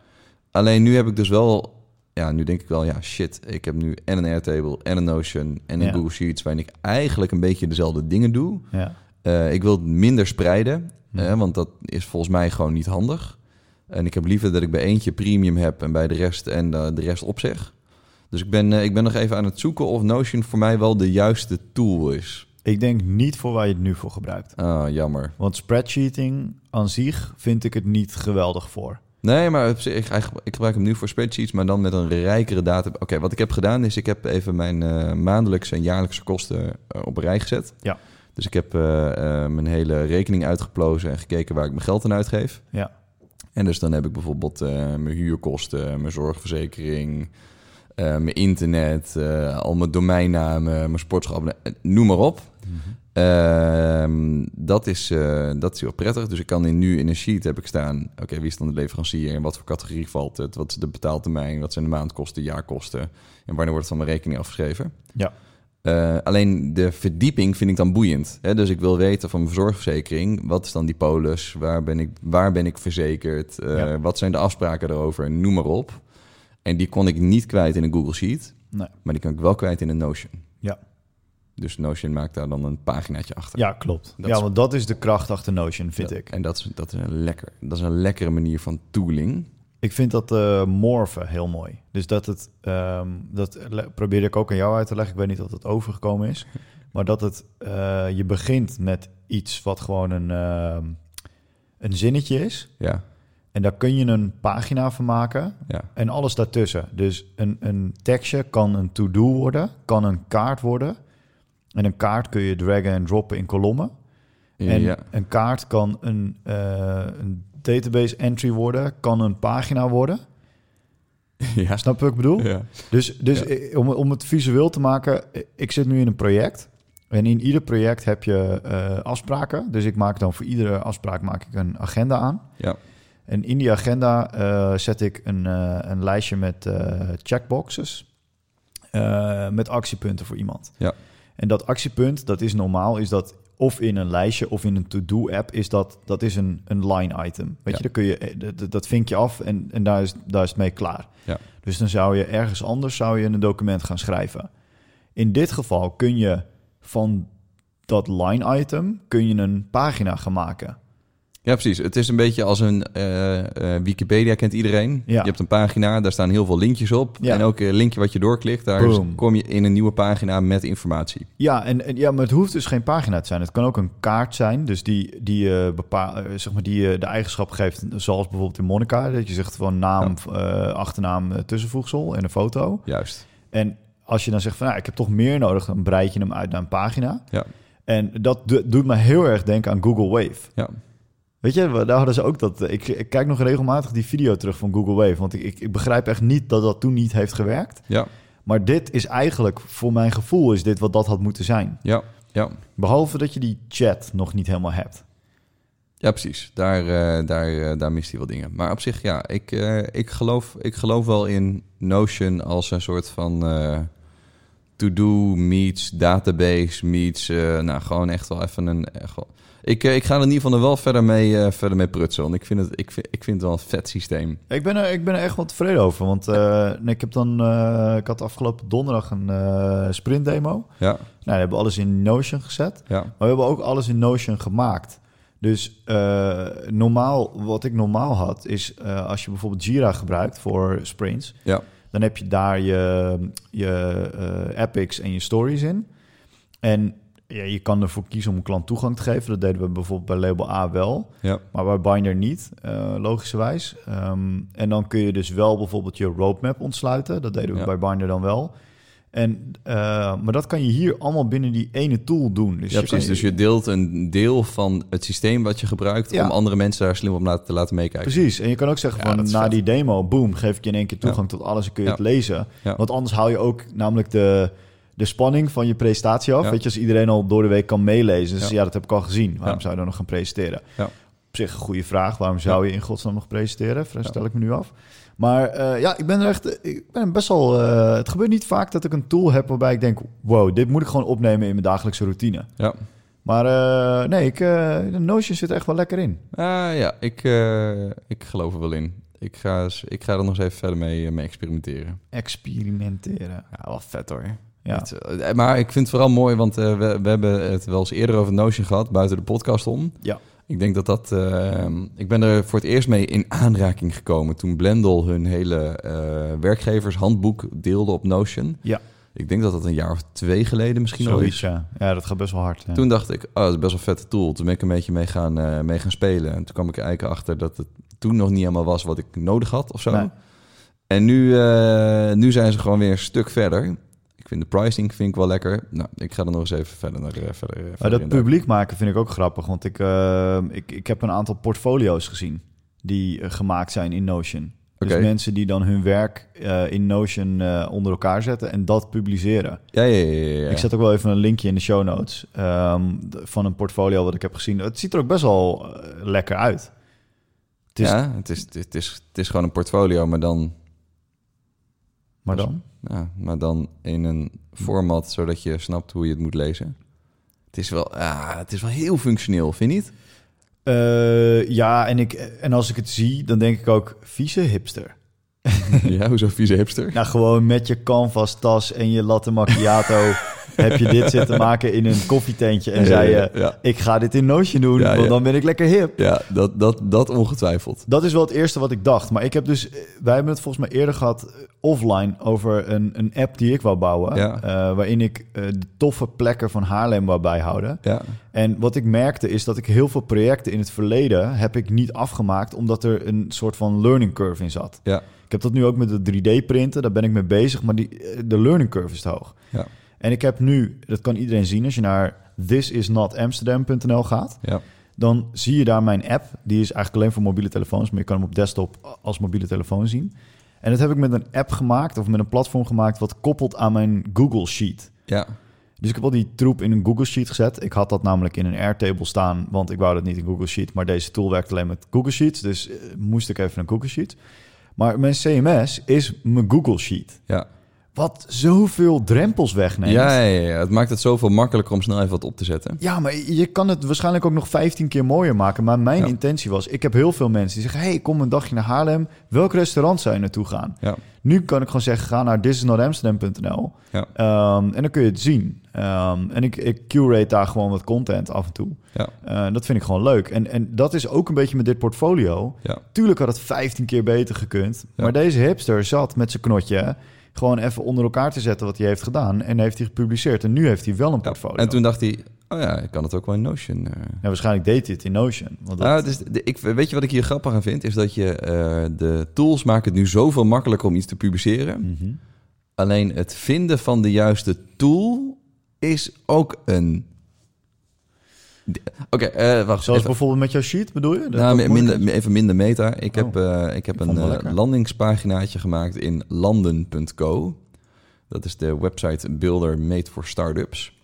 Speaker 2: Alleen nu heb ik dus wel... Ja, nu denk ik wel, ja, shit. Ik heb nu en een Airtable en een Notion en een
Speaker 1: Ja.
Speaker 2: Google Sheets... waarin ik eigenlijk een beetje dezelfde dingen doe.
Speaker 1: ja.
Speaker 2: Eh, ik wil het minder spreiden,
Speaker 1: Hm.
Speaker 2: eh, want dat is volgens mij gewoon niet handig. En ik heb liever dat ik bij eentje premium heb en bij de rest en eh, de rest opzeg. Dus ik ben, eh, ik ben nog even aan het zoeken of Notion voor mij wel de juiste tool is.
Speaker 1: Ik denk niet voor waar je het nu voor gebruikt.
Speaker 2: Ah, jammer.
Speaker 1: Want spreadsheeting aan zich vind ik het niet geweldig voor.
Speaker 2: Nee, maar op zich, ik, hij gebru- ik gebruik hem nu voor spreadsheets, maar dan met een rijkere data. Oké, wat ik heb gedaan is, ik heb even mijn eh, maandelijkse en jaarlijkse kosten eh, op een rij gezet.
Speaker 1: Ja.
Speaker 2: Dus ik heb eh, eh, mijn hele rekening uitgeplozen en gekeken waar ik mijn geld aan uitgeef.
Speaker 1: Ja.
Speaker 2: En dus dan heb ik bijvoorbeeld eh, mijn huurkosten, mijn zorgverzekering, eh, mijn internet, eh, al mijn domeinnamen, mijn sportschappen, noem maar op. Ehm, dat, is, eh, dat is heel prettig. Dus ik kan in, nu in een sheet heb ik staan... oké, wie is dan de leverancier? In wat voor categorie valt het? Wat is de betaaltermijn? Wat zijn de maandkosten, jaarkosten? En wanneer wordt het van mijn rekening afgeschreven?
Speaker 1: Ja.
Speaker 2: Eh, alleen de verdieping vind ik dan boeiend. Hè? Dus ik wil weten van mijn zorgverzekering... wat is dan die polis? Waar ben ik, waar ben ik verzekerd? Eh,
Speaker 1: Ja.
Speaker 2: Wat zijn de afspraken erover? Noem maar op. En die kon ik niet kwijt in een Google Sheet...
Speaker 1: Nee.
Speaker 2: maar die kan ik wel kwijt in een Notion.
Speaker 1: Ja.
Speaker 2: Dus Notion maakt daar dan een paginaatje achter.
Speaker 1: Ja, klopt.
Speaker 2: Dat
Speaker 1: ja,
Speaker 2: is-
Speaker 1: want dat is de kracht achter Notion, vind
Speaker 2: Ja,
Speaker 1: ik.
Speaker 2: En dat is, dat, is een lekker, dat is een lekkere manier van tooling.
Speaker 1: Ik vind dat eh morven heel mooi. Dus dat het, ehm, dat le- probeerde ik ook aan jou uit te leggen. Ik weet niet of dat overgekomen is. Maar dat het, eh, je begint met iets wat gewoon een, ehm, een zinnetje is.
Speaker 2: Ja,
Speaker 1: En daar kun je een pagina van maken.
Speaker 2: ja,
Speaker 1: En alles daartussen. Dus een, een tekstje kan een to-do worden, kan een kaart worden. En een kaart kun je draggen en droppen in kolommen. En
Speaker 2: ja.
Speaker 1: een kaart kan een, eh, een database entry worden, kan een pagina worden.
Speaker 2: ja.
Speaker 1: Snap je wat ik bedoel?
Speaker 2: Ja.
Speaker 1: Dus, dus
Speaker 2: Ja.
Speaker 1: eh, om, om het visueel te maken, eh, ik zit nu in een project. En in ieder project heb je eh, afspraken. Dus ik maak dan voor iedere afspraak maak ik een agenda aan.
Speaker 2: Ja.
Speaker 1: En in die agenda eh, zet ik een, eh, een lijstje met eh, checkboxes. eh, met actiepunten voor iemand.
Speaker 2: Ja.
Speaker 1: En dat actiepunt, dat is normaal, is dat of in een lijstje of in een to-do-app, is dat, dat is een, een line item. Weet
Speaker 2: Ja.
Speaker 1: je, dan kun je, eh, dat- dat, dat vink je af en, en daar, is, daar is het mee klaar.
Speaker 2: Ja.
Speaker 1: Dus dan zou je ergens anders zou je een document gaan schrijven. In dit geval kun je van dat line item kun je een pagina gaan maken.
Speaker 2: Ja, precies. Het is een beetje als een eh, eh, Wikipedia kent iedereen.
Speaker 1: Ja.
Speaker 2: Je hebt een pagina, daar staan heel veel linkjes op.
Speaker 1: Ja.
Speaker 2: En elke linkje wat je doorklikt, daar is-
Speaker 1: Boom.
Speaker 2: kom je in een nieuwe pagina met informatie.
Speaker 1: Ja, en, en- ja, maar het hoeft dus geen pagina te zijn. Het kan ook een kaart zijn, dus die, die, eh, bepaal, eh, zeg maar die eh, de eigenschap geeft, zoals bijvoorbeeld in Monica, dat je zegt van naam, eh, achternaam, eh, tussenvoegsel en een foto.
Speaker 2: Juist.
Speaker 1: En als je dan zegt van nou, ik heb toch meer nodig, dan breid je hem uit naar een pagina.
Speaker 2: Ja.
Speaker 1: En dat do- doet me heel erg denken aan Google Wave.
Speaker 2: Ja.
Speaker 1: Weet je, daar hadden ze ook dat. eh, Ik, ik kijk nog regelmatig die video terug van Google Wave. Want ik, ik, ik begrijp echt niet dat dat toen niet heeft gewerkt.
Speaker 2: Ja.
Speaker 1: Maar dit is eigenlijk, voor mijn gevoel, is dit wat dat had moeten zijn.
Speaker 2: Ja. Ja.
Speaker 1: Behalve dat je die chat nog niet helemaal hebt.
Speaker 2: Ja, precies. Daar, eh, daar, eh, daar mist hij wel dingen. Maar op zich, ja, ik, eh, ik, geloof, ik geloof wel in Notion als een soort van eh, to-do meets database meets... eh, nou, gewoon echt wel even een... eh, gewoon- ik, eh, ik ga er in ieder geval er wel verder mee, eh, verder mee prutsen. Want ik vind, het, ik, vind, ik vind het wel een vet systeem.
Speaker 1: Ik ben er, ik ben er echt wel tevreden over. Want eh, nee, ik, heb dan, eh, ik had afgelopen donderdag een eh sprintdemo. Nou, we
Speaker 2: Ja,
Speaker 1: hebben alles in Notion gezet.
Speaker 2: ja,
Speaker 1: Maar we hebben ook alles in Notion gemaakt. Dus eh, normaal, wat ik normaal had, is eh, als je bijvoorbeeld Jira gebruikt voor sprints,
Speaker 2: Ja.
Speaker 1: dan heb je daar je, je eh, epics en je stories in. En ja, je kan ervoor kiezen om een klant toegang te geven. Dat deden we bijvoorbeeld bij label A wel,
Speaker 2: ja,
Speaker 1: maar bij Binder niet, eh, logischerwijs. Ehm, en dan kun je dus wel bijvoorbeeld je roadmap ontsluiten. Dat deden we
Speaker 2: Ja.
Speaker 1: bij Binder dan wel. En, eh, maar dat kan je hier allemaal binnen die ene tool doen. Dus
Speaker 2: ja
Speaker 1: je kan
Speaker 2: precies. Dus je deelt een deel van het systeem wat je gebruikt...
Speaker 1: Ja.
Speaker 2: om andere mensen daar slim op na- te laten meekijken.
Speaker 1: Precies, en je kan ook zeggen
Speaker 2: Ja,
Speaker 1: van
Speaker 2: dat is
Speaker 1: na
Speaker 2: vet.
Speaker 1: die demo, boom, geef ik je in één keer
Speaker 2: Ja.
Speaker 1: toegang tot alles en kun je
Speaker 2: Ja.
Speaker 1: het lezen.
Speaker 2: Ja.
Speaker 1: Want anders hou je ook namelijk de, de spanning van je presentatie af.
Speaker 2: Ja.
Speaker 1: Weet je, als iedereen al door de week kan meelezen, dus ja,
Speaker 2: Ja.
Speaker 1: dat heb ik al gezien. Waarom
Speaker 2: Ja.
Speaker 1: zou je dan nog gaan presenteren?
Speaker 2: Ja.
Speaker 1: Op zich een goede vraag, waarom zou je in godsnaam nog presenteren? Vraag stel ik me nu af. Maar eh, ja, ik ben er echt, ik ben best wel, eh, het gebeurt niet vaak dat ik een tool heb waarbij ik denk, wow, dit moet ik gewoon opnemen in mijn dagelijkse routine.
Speaker 2: Ja.
Speaker 1: Maar eh, nee, ik, eh, de Notion zit er echt wel lekker in.
Speaker 2: Ah ja, ik, eh, ik geloof er wel in. Ik ga, eens- ik ga er nog eens even verder mee, eh, mee experimenteren.
Speaker 1: Experimenteren.
Speaker 2: Ja, wel vet hoor.
Speaker 1: Ja.
Speaker 2: eh, maar ik vind het vooral mooi, want eh, we, we hebben het wel eens eerder over Notion gehad, buiten de podcast om.
Speaker 1: Ja.
Speaker 2: Ik denk dat dat... eh, ik ben er voor het eerst mee in aanraking gekomen toen Blendel hun hele eh, werkgevershandboek deelde op Notion.
Speaker 1: Ja.
Speaker 2: Ik denk dat dat een jaar of twee geleden misschien al is.
Speaker 1: Zoiets, ja. Ja, dat gaat best wel hard. ja.
Speaker 2: Toen dacht ik, oh, dat is best wel een vette tool. Toen ben ik een beetje mee gaan, eh, mee gaan spelen. En toen kwam ik er eigenlijk achter dat het toen nog niet helemaal was wat ik nodig had of zo.
Speaker 1: Nee.
Speaker 2: En nu, eh, nu zijn ze gewoon weer een stuk verder. Ik vind de pricing vind ik wel lekker. Nou, ik ga er nog eens even verder naar eh, verder, eh, verder
Speaker 1: Maar Oh, dat
Speaker 2: in
Speaker 1: publiek maken vind ik ook grappig, want ik, eh, ik, ik heb een aantal portfolio's gezien die eh, gemaakt zijn in Notion. Dus
Speaker 2: Oké.
Speaker 1: mensen die dan hun werk eh, in Notion eh, onder elkaar zetten en dat publiceren.
Speaker 2: duiken. Ja, ja, ja. ja, ja.
Speaker 1: Ik zet ook wel even een linkje in de show notes ehm, d- van een portfolio wat ik heb gezien. Het ziet er ook best wel eh, lekker uit. Het is,
Speaker 2: Ja, het is, het, is, het is gewoon een portfolio, maar dan,
Speaker 1: Maar dan?
Speaker 2: ja, maar dan in een format zodat je snapt hoe je het moet lezen. Het is wel, ah, het is wel heel functioneel, vind je niet?
Speaker 1: Eh, ja, en, ik, en als ik het zie, dan denk ik ook vieze hipster.
Speaker 2: ja, hoezo vieze hipster?
Speaker 1: Nou, gewoon met je canvas tas en je latte macchiato heb je dit zitten maken in een koffietentje en eh, zei je,
Speaker 2: ja,
Speaker 1: ik ga dit in Notion doen,
Speaker 2: Ja,
Speaker 1: want
Speaker 2: ja.
Speaker 1: dan ben ik lekker hip.
Speaker 2: ja dat, dat, dat ongetwijfeld.
Speaker 1: Dat is wel het eerste wat ik dacht. Maar ik heb dus, eh, wij hebben het volgens mij eerder gehad eh, offline over een, een app die ik wou bouwen.
Speaker 2: Ja.
Speaker 1: eh, waarin ik eh, de toffe plekken van Haarlem wou bijhouden.
Speaker 2: Ja,
Speaker 1: En wat ik merkte is dat ik heel veel projecten in het verleden heb ik niet afgemaakt. Omdat er een soort van learning curve in zat.
Speaker 2: ja,
Speaker 1: Ik heb dat nu ook met de 3D-printen, daar ben ik mee bezig, maar die, eh, de learning curve is te hoog.
Speaker 2: Ja.
Speaker 1: En ik heb nu, dat kan iedereen zien, als je naar thisisnotamsterdam.nl gaat,
Speaker 2: ja.
Speaker 1: dan zie je daar mijn app. Die is eigenlijk alleen voor mobiele telefoons, maar je kan hem op desktop als mobiele telefoon zien. En dat heb ik met een app gemaakt of met een platform gemaakt wat koppelt aan mijn Google Sheet.
Speaker 2: ja.
Speaker 1: Dus ik heb al die troep in een Google Sheet gezet. Ik had dat namelijk in een Airtable staan, want ik wou dat niet in Google Sheet. Maar deze tool werkt alleen met Google Sheets, dus eh, moest ik even een Google Sheet. Maar mijn CMS is mijn Google Sheet.
Speaker 2: ja.
Speaker 1: Wat zoveel drempels wegneemt.
Speaker 2: Ja, ja, ja, ja. het maakt het zoveel makkelijker om snel even wat op te zetten.
Speaker 1: Ja, maar je kan het waarschijnlijk ook nog 15 keer mooier maken. Maar mijn
Speaker 2: Ja.
Speaker 1: intentie was, ik heb heel veel mensen die zeggen... hey, kom een dagje naar Haarlem. Welk restaurant zou je naartoe gaan?
Speaker 2: Ja.
Speaker 1: Nu kan ik gewoon zeggen, ga naar thisisnotamsterdam.nl.
Speaker 2: Ja.
Speaker 1: Ehm, en dan kun je het zien. Ehm, en ik, ik curate daar gewoon wat content af en toe.
Speaker 2: Ja.
Speaker 1: Eh, dat vind ik gewoon leuk. En, en dat is ook een beetje met dit portfolio.
Speaker 2: Ja.
Speaker 1: Tuurlijk had het 15 keer beter gekund. Maar deze hipster zat met zijn knotje... gewoon even onder elkaar te zetten wat hij heeft gedaan. En heeft hij gepubliceerd. En nu heeft hij wel een
Speaker 2: Ja.
Speaker 1: portfolio.
Speaker 2: En toen dacht hij, oh ja, ik kan het ook wel in Notion. eh.
Speaker 1: Ja, waarschijnlijk deed hij het in Notion. Want dat,
Speaker 2: Nou, het is- de- ik, weet je wat ik hier grappig aan vind? Is dat je eh, de tools maken het nu zoveel makkelijker om iets te publiceren.
Speaker 1: Mhm.
Speaker 2: Alleen het vinden van de juiste tool is ook een. De- Oké, eh, wacht.
Speaker 1: Zoals
Speaker 2: even,
Speaker 1: bijvoorbeeld met jouw sheet bedoel je? Dat
Speaker 2: nou,
Speaker 1: dat
Speaker 2: mi-
Speaker 1: moeilijk
Speaker 2: minder, even minder meta.
Speaker 1: Oh,
Speaker 2: Ik heb, eh, ik heb
Speaker 1: vond
Speaker 2: een
Speaker 1: het wel
Speaker 2: eh,
Speaker 1: lekker.
Speaker 2: landingspaginaatje gemaakt in landen.co. Dat is de website builder made for startups.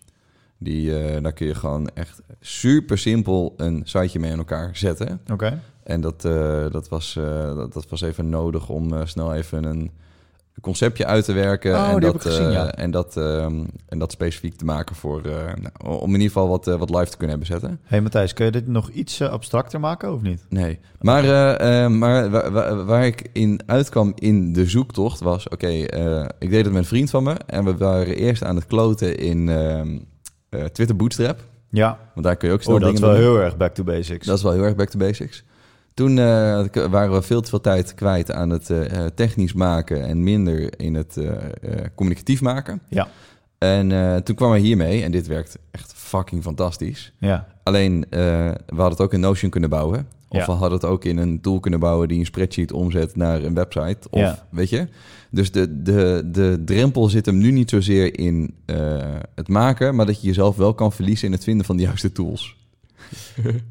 Speaker 2: Die, eh, daar kun je gewoon echt super simpel een siteje mee aan elkaar zetten.
Speaker 1: is? Oké.
Speaker 2: En dat, eh, dat, was, eh, dat, dat was even nodig om eh, snel even een conceptje uit te werken.
Speaker 1: Oh,
Speaker 2: en,
Speaker 1: die
Speaker 2: dat,
Speaker 1: heb ik gezien,
Speaker 2: eh,
Speaker 1: ja.
Speaker 2: en, dat, ehm, en dat specifiek te maken voor, eh, nou, om in ieder geval wat, eh, wat live te kunnen hebben zetten.
Speaker 1: hey, Matthijs, kun je dit nog iets eh, abstracter maken of niet?
Speaker 2: Nee. Maar, eh, eh, maar waar, waar, waar ik in uitkwam in de zoektocht was... Oké, eh, ik deed het met een vriend van me. En we waren eerst aan het kloten in ehm, eh, Twitter Bootstrap.
Speaker 1: Ja,
Speaker 2: Want daar kun je ook snel
Speaker 1: oh, dat
Speaker 2: dingen
Speaker 1: is wel
Speaker 2: doen.
Speaker 1: heel erg back to basics.
Speaker 2: Dat is wel heel erg back to basics. Toen eh, k- waren we veel te veel tijd kwijt aan het eh, eh, technisch maken en minder in het eh, eh, communicatief maken.
Speaker 1: Ja.
Speaker 2: En eh, toen kwamen we hiermee en dit werkt echt fucking fantastisch.
Speaker 1: Ja,
Speaker 2: Alleen, eh, we hadden het ook in Notion kunnen bouwen. Of
Speaker 1: Ja.
Speaker 2: we hadden het ook in een tool kunnen bouwen die een spreadsheet omzet naar een website. Of,
Speaker 1: Ja.
Speaker 2: weet je? Dus de, de, de drempel zit hem nu niet zozeer in eh, het maken, maar dat je jezelf wel kan verliezen in het vinden van de juiste tools.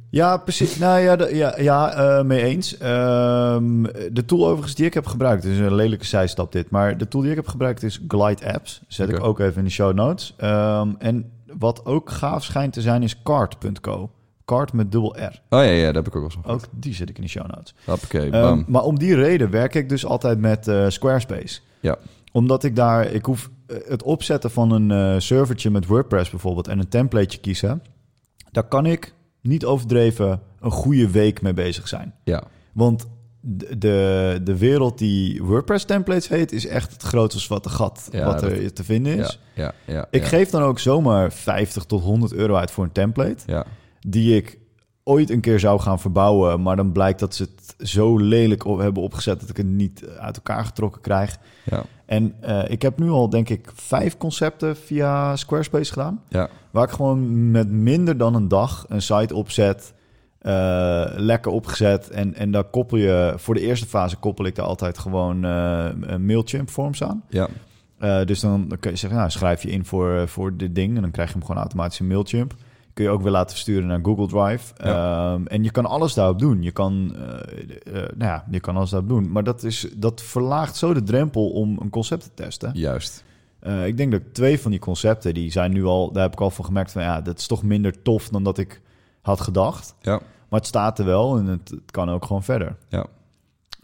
Speaker 1: ja precies. Nou ja, de- ja, ja eh, mee eens. Ehm, de tool overigens die ik heb gebruikt, dus een lelijke zijstap dit. Maar de tool die ik heb gebruikt is Glide Apps. Zet ik
Speaker 2: Oké.
Speaker 1: ook even in de show notes. Ehm, en wat ook gaaf schijnt te zijn is card.co. Card met dubbel R.
Speaker 2: Oh ja, ja, dat heb ik ook wel eens van
Speaker 1: Ook die zet ik in de show notes.
Speaker 2: Hoppakee,
Speaker 1: Ehm,
Speaker 2: bam.
Speaker 1: maar om die reden werk ik dus altijd met eh, Squarespace.
Speaker 2: Ja.
Speaker 1: Omdat ik daar, ik hoef eh, het opzetten van een eh, servertje met WordPress bijvoorbeeld en een templateje kiezen. Daar kan ik niet overdreven een goede week mee bezig zijn.
Speaker 2: ja,
Speaker 1: Want de, de, de wereld die WordPress templates heet, is echt het grootste zwarte gat
Speaker 2: Ja,
Speaker 1: wat er te vinden is.
Speaker 2: ja, ja, ja.
Speaker 1: Ik
Speaker 2: ja,
Speaker 1: geef dan ook zomaar 50 tot 100 euro uit voor een template
Speaker 2: Ja,
Speaker 1: die ik ooit een keer zou gaan verbouwen. Maar dan blijkt dat ze het zo lelijk op hebben opgezet dat ik het niet eh, uit elkaar getrokken krijg.
Speaker 2: ja,
Speaker 1: En eh, ik heb nu al, denk ik, vijf concepten via Squarespace gedaan.
Speaker 2: ja,
Speaker 1: Waar ik gewoon met minder dan een dag een site opzet. eh, lekker opgezet. En, en daar koppel je, voor de eerste fase koppel ik daar altijd gewoon eh, een MailChimp Forms aan.
Speaker 2: ja,
Speaker 1: Eh, dus dan kun je zeggen, nou, schrijf je in voor, eh, voor dit ding en dan krijg je hem gewoon automatisch in Mailchimp. Kun je ook weer laten versturen naar Google Drive. Ehm, en je kan alles daarop doen. Je kan, eh, eh, nou ja, je kan alles daarop doen. Maar dat, is, dat verlaagt zo de drempel om een concept te testen.
Speaker 2: juist.
Speaker 1: Eh, ik denk dat twee van die concepten, die zijn nu al, daar heb ik al van gemerkt van ja, dat is toch minder tof dan dat ik had gedacht.
Speaker 2: Ja,
Speaker 1: Maar het staat er wel en het, het kan ook gewoon verder.
Speaker 2: ja.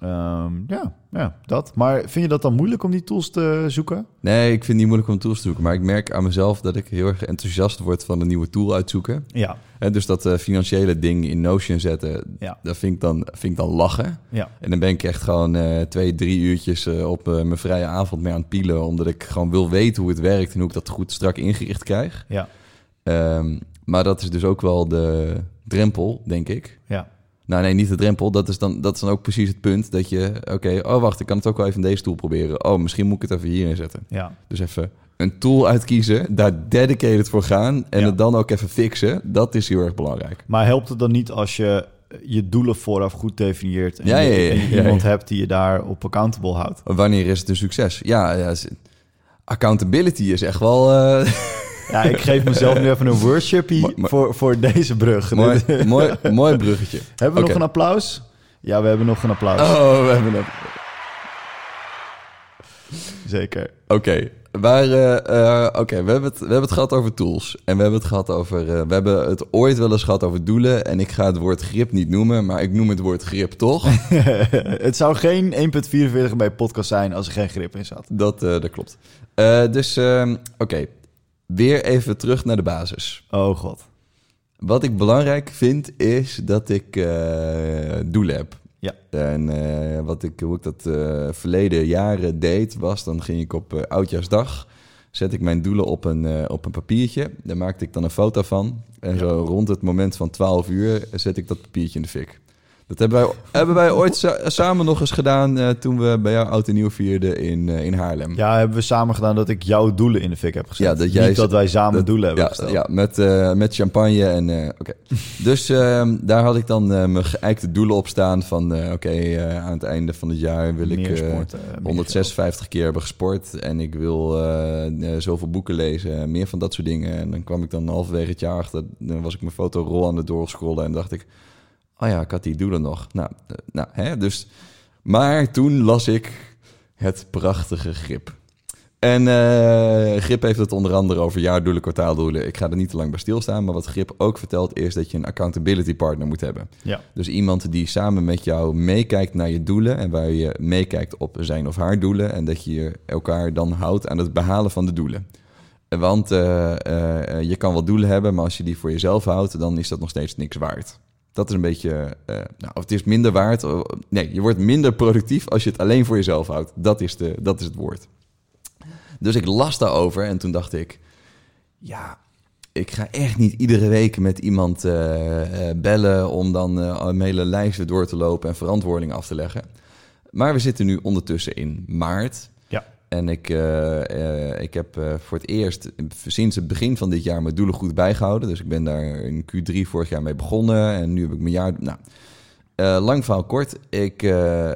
Speaker 1: Ehm, ja, ja, dat. Maar vind je dat dan moeilijk om die tools te zoeken?
Speaker 2: Nee, ik vind het niet moeilijk om tools te zoeken. Maar ik merk aan mezelf dat ik heel erg enthousiast word van een nieuwe tool uitzoeken.
Speaker 1: Ja,
Speaker 2: En dus dat eh, financiële ding in Notion zetten,
Speaker 1: Ja.
Speaker 2: dat vind ik, dan, vind ik dan lachen.
Speaker 1: ja.
Speaker 2: En dan ben ik echt gewoon eh, twee, drie uurtjes eh, op eh, mijn vrije avond mee aan het pielen. Omdat ik gewoon wil weten hoe het werkt en hoe ik dat goed strak ingericht krijg.
Speaker 1: Ja,
Speaker 2: Ehm, maar dat is dus ook wel de drempel, denk ik.
Speaker 1: ja.
Speaker 2: Nou nee, niet de drempel. Dat is dan, dat is dan ook precies het punt dat je... Oké, oh wacht, ik kan het ook wel even in deze tool proberen. Oh, misschien moet ik het even hierin zetten.
Speaker 1: Ja,
Speaker 2: Dus even een tool uitkiezen, daar dedicated voor gaan... en
Speaker 1: Ja.
Speaker 2: het dan ook even fixen. Dat is heel erg belangrijk.
Speaker 1: maar helpt het dan niet als je eh, je doelen vooraf goed definieert en
Speaker 2: Ja,
Speaker 1: je-
Speaker 2: ja, ja,
Speaker 1: en je
Speaker 2: ja, ja.
Speaker 1: iemand hebt die je daar op accountable houdt?
Speaker 2: Wanneer is het een succes? Ja, ja is- accountability is echt wel... eh,
Speaker 1: Ja, ik geef mezelf nu even een
Speaker 2: Maar-
Speaker 1: worshipie
Speaker 2: maar-
Speaker 1: voor, voor deze brug.
Speaker 2: mooi,
Speaker 1: Dit-
Speaker 2: mooi, mooi bruggetje.
Speaker 1: hebben we nog
Speaker 2: Oké.
Speaker 1: een applaus? Ja, we hebben nog een applaus.
Speaker 2: Oh, we hebben nog...
Speaker 1: Zeker.
Speaker 2: Oké, waar, eh, eh, oké, we, hebben het- we hebben het gehad over tools. En we hebben het gehad over. eh, we hebben het ooit wel eens gehad over doelen. En ik ga het woord grip niet noemen, maar ik noem het woord grip toch?
Speaker 1: het zou geen 1.44 bij podcast zijn als er geen grip in zat.
Speaker 2: dat, eh, dat klopt. Eh, dus, ehm, oké. Weer even terug naar de basis.
Speaker 1: Oh god.
Speaker 2: Wat ik belangrijk vind is dat ik eh, doelen heb.
Speaker 1: Ja.
Speaker 2: En eh, wat ik, hoe ik dat eh, verleden jaren deed, was dan ging ik op eh, oudjaarsdag. Zet ik mijn doelen op een, eh, op een papiertje. Daar maakte ik dan een foto van. En zo rond het moment van 12 uur zet ik dat papiertje in de fik. Dat hebben wij, hebben wij ooit sa- samen nog eens gedaan eh, toen we bij jou oud en nieuw vierden in, eh, in Haarlem.
Speaker 1: Ja, hebben we samen gedaan dat ik jouw doelen in de fik heb gezet.
Speaker 2: Ja, dat jij-
Speaker 1: Niet dat wij samen
Speaker 2: Dat-
Speaker 1: doelen hebben
Speaker 2: ja,
Speaker 1: gesteld.
Speaker 2: ja, met, eh, met champagne en eh, oké. Dus ehm, daar had ik dan eh, mijn geëikte doelen op staan van eh, oké, eh, aan het einde van het jaar wil ik
Speaker 1: Meer
Speaker 2: eh,
Speaker 1: sporten, meer geld.
Speaker 2: 156 keer hebben gesport en ik wil eh, eh, zoveel boeken lezen en meer van dat soort dingen. En dan kwam ik dan halverwege het jaar achter, dan was ik mijn fotorol aan het doorscrollen en dacht ik, oh ja, ik had die doelen nog. Nou, eh, nou hè, dus... Maar toen las ik het prachtige grip. En eh, Grip heeft het onder andere over jaardoelen, kwartaaldoelen. Ik ga er niet te lang bij stilstaan. Maar wat Grip ook vertelt is dat je een accountability partner moet hebben.
Speaker 1: Ja.
Speaker 2: Dus iemand die samen met jou meekijkt naar je doelen. En waar je meekijkt op zijn of haar doelen. En dat je elkaar dan houdt aan het behalen van de doelen. Want eh, eh, eh, je kan wel doelen hebben, maar als je die voor jezelf houdt, dan is dat nog steeds niks waard. Dat is een beetje. eh, nou, of het is minder waard. oh, nee, je wordt minder productief als je het alleen voor jezelf houdt. Dat is, de, dat is het woord. Dus ik las daarover en toen dacht ik. Ja, ik ga echt niet iedere week met iemand eh, eh, bellen. om dan eh, een hele lijst weer door te lopen en verantwoording af te leggen. Maar we zitten nu ondertussen in maart.
Speaker 1: Ja.
Speaker 2: En ik, eh, eh, ik heb eh, voor het eerst sinds het begin van dit jaar mijn doelen goed bijgehouden. Dus ik ben daar in Q3 vorig jaar mee begonnen. En nu heb ik mijn jaar. Nou, eh, lang verhaal kort. Ik, eh,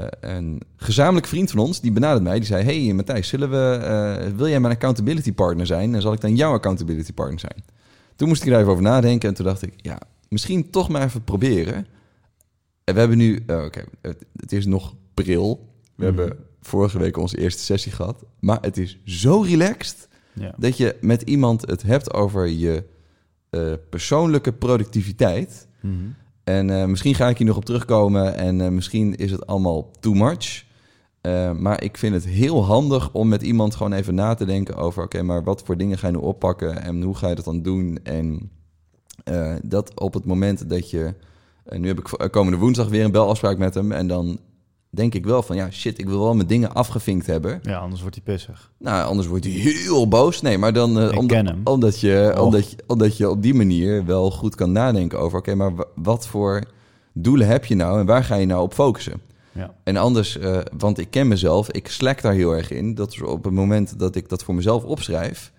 Speaker 2: eh, een gezamenlijk vriend van ons die benadert mij. Die zei: Hey Matthijs, zullen we, eh, wil jij mijn accountability partner zijn? En zal ik dan jouw accountability partner zijn? Toen moest ik er even over nadenken. En toen dacht ik: Ja, misschien toch maar even proberen. En we hebben nu, eh, oké, het, het is nog pril.
Speaker 1: Mhm.
Speaker 2: We hebben vorige week onze eerste sessie gehad. Maar het is zo relaxed
Speaker 1: Ja.
Speaker 2: dat je met iemand het hebt over je eh, persoonlijke productiviteit.
Speaker 1: Mhm.
Speaker 2: En eh, misschien ga ik hier nog op terugkomen en eh, misschien is het allemaal too much. Eh, maar ik vind het heel handig om met iemand gewoon even na te denken over... oké, maar wat voor dingen ga je nu oppakken en hoe ga je dat dan doen? En eh, dat op het moment dat je... en nu heb ik vo- eh, komende woensdag weer een belafspraak met hem... en dan denk ik wel van, ja, shit, ik wil wel mijn dingen afgevinkt hebben.
Speaker 1: ja, anders wordt hij pissig.
Speaker 2: Nou, anders wordt hij heel boos. Nee, maar dan... eh,
Speaker 1: Ik
Speaker 2: omdat-
Speaker 1: ken hem.
Speaker 2: omdat je,
Speaker 1: Och.
Speaker 2: omdat, je, omdat je op die manier wel goed kan nadenken over... oké, maar wa- wat voor doelen heb je nou en waar ga je nou op focussen?
Speaker 1: Ja.
Speaker 2: En anders, eh, want ik ken mezelf, ik slack daar heel erg in. Dat is op het moment dat ik dat voor mezelf opschrijf...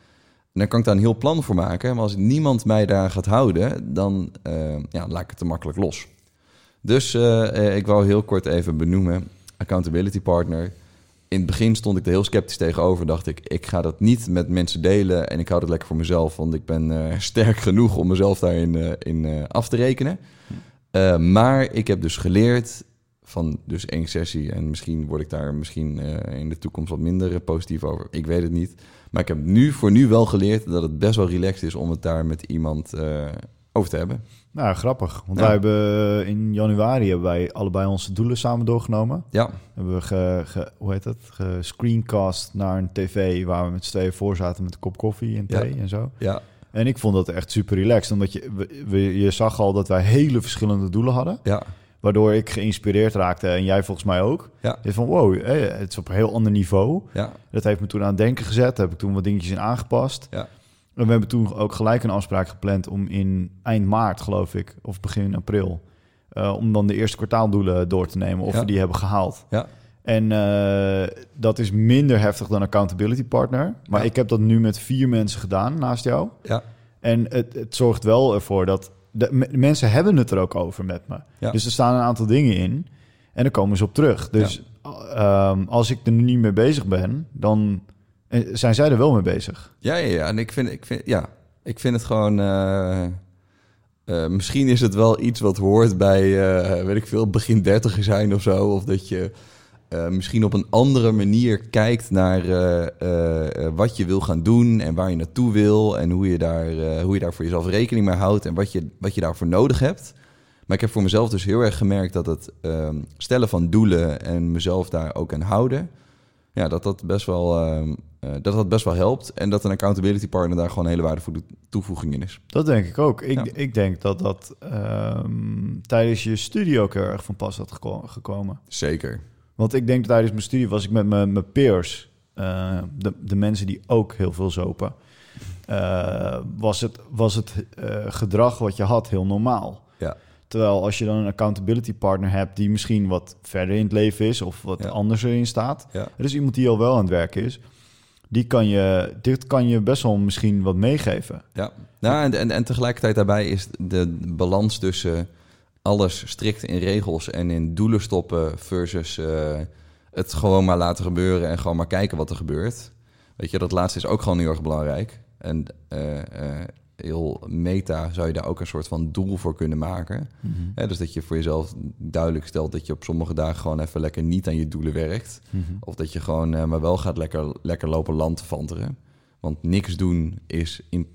Speaker 2: dan kan ik daar een heel plan voor maken. Maar als niemand mij daar gaat houden, dan eh, ja, laat ik het te makkelijk los. Dus eh, eh, ik wou heel kort even benoemen, accountability partner... In het begin stond ik er heel sceptisch tegenover. Dacht ik, ik ga dat niet met mensen delen en ik hou dat lekker voor mezelf. Want ik ben eh, sterk genoeg om mezelf daarin eh, in, eh, af te rekenen. Eh, maar ik heb dus geleerd van dus één sessie. En misschien word ik daar misschien eh, in de toekomst wat minder eh, positief over. Ik weet het niet. Maar ik heb nu voor nu wel geleerd dat het best wel relaxed is om het daar met iemand eh, oké over te hebben.
Speaker 1: Nou, grappig. Want
Speaker 2: Ja.
Speaker 1: wij hebben eh, in januari hebben wij allebei onze doelen samen doorgenomen.
Speaker 2: Ja,
Speaker 1: Hebben we ge, ge- hoe heet dat? Gescreencast naar een tv waar we met z'n tweeën voor zaten met een kop koffie en
Speaker 2: Ja.
Speaker 1: thee en zo.
Speaker 2: ja,
Speaker 1: En ik vond dat echt super relaxed. Omdat je, we- we- je zag al dat wij hele verschillende doelen hadden.
Speaker 2: ja,
Speaker 1: Waardoor ik geïnspireerd raakte en jij volgens mij ook.
Speaker 2: Ja.
Speaker 1: Dus van wow, hé, het is op een heel ander niveau.
Speaker 2: ja,
Speaker 1: Dat heeft me toen aan het denken gezet. Daar heb ik toen wat dingetjes in aangepast.
Speaker 2: Ja.
Speaker 1: En we hebben toen ook gelijk een afspraak gepland om in eind maart, geloof ik, of begin april, eh, om dan de eerste kwartaaldoelen door te nemen of
Speaker 2: Ja.
Speaker 1: we die hebben gehaald.
Speaker 2: Ja.
Speaker 1: En eh, dat is minder heftig dan accountability partner. Maar
Speaker 2: Ja.
Speaker 1: ik heb dat nu met vier mensen gedaan naast jou.
Speaker 2: ja,
Speaker 1: En het, het zorgt wel ervoor dat... De, m- mensen hebben het er ook over met me.
Speaker 2: Ja.
Speaker 1: Dus er staan een aantal dingen in. En daar komen ze op terug. Dus ehm, als ik er nu niet mee bezig ben, dan eh, zijn zij er wel mee bezig.
Speaker 2: ja, ja, ja. En ik vind, ik vind, ja, ik vind het gewoon. eh, eh, misschien is het wel iets wat hoort bij, eh, weet ik veel, begin dertiger zijn of zo. Of dat je eh, misschien op een andere manier kijkt naar eh, eh, eh, wat je wil gaan doen en waar je naartoe wil. En hoe je daar, eh, hoe je daar voor jezelf rekening mee houdt en wat je, wat je daarvoor nodig hebt. Maar ik heb voor mezelf dus heel erg gemerkt dat het ehm, stellen van doelen en mezelf daar ook aan houden. Ja, dat dat best wel, ehm, eh, dat dat best wel helpt. En dat een accountability partner daar gewoon een hele waardevolle toevoeging in is.
Speaker 1: Dat denk ik ook. Ik,
Speaker 2: Ja.
Speaker 1: ik denk dat dat ehm, tijdens je studie ook heel erg van pas had geko- gekomen.
Speaker 2: Zeker.
Speaker 1: Want ik denk dat tijdens mijn studie was ik met mijn mijn peers, eh, de, de mensen die ook heel veel zopen, eh, was het, was het eh, gedrag wat je had heel normaal.
Speaker 2: Ja.
Speaker 1: Terwijl als je dan een accountability partner hebt die misschien wat verder in het leven is of wat
Speaker 2: Ja.
Speaker 1: anders erin staat,
Speaker 2: Ja.
Speaker 1: er is iemand die al wel aan het werk is, die kan je, dit kan je best wel misschien wat meegeven.
Speaker 2: Ja, nou, en, en, en tegelijkertijd daarbij is de balans tussen alles strikt in regels en in doelen stoppen versus eh, het gewoon maar laten gebeuren en gewoon maar kijken wat er gebeurt. Weet je, dat laatste is ook gewoon heel erg belangrijk. En eh, eh, heel meta zou je daar ook een soort van doel voor kunnen maken. Hè, dus dat je voor jezelf duidelijk stelt dat je op sommige dagen gewoon even lekker niet aan je doelen werkt. Of dat je gewoon eh, maar wel gaat lekker, lekker lopen landvanteren. Want niks doen is in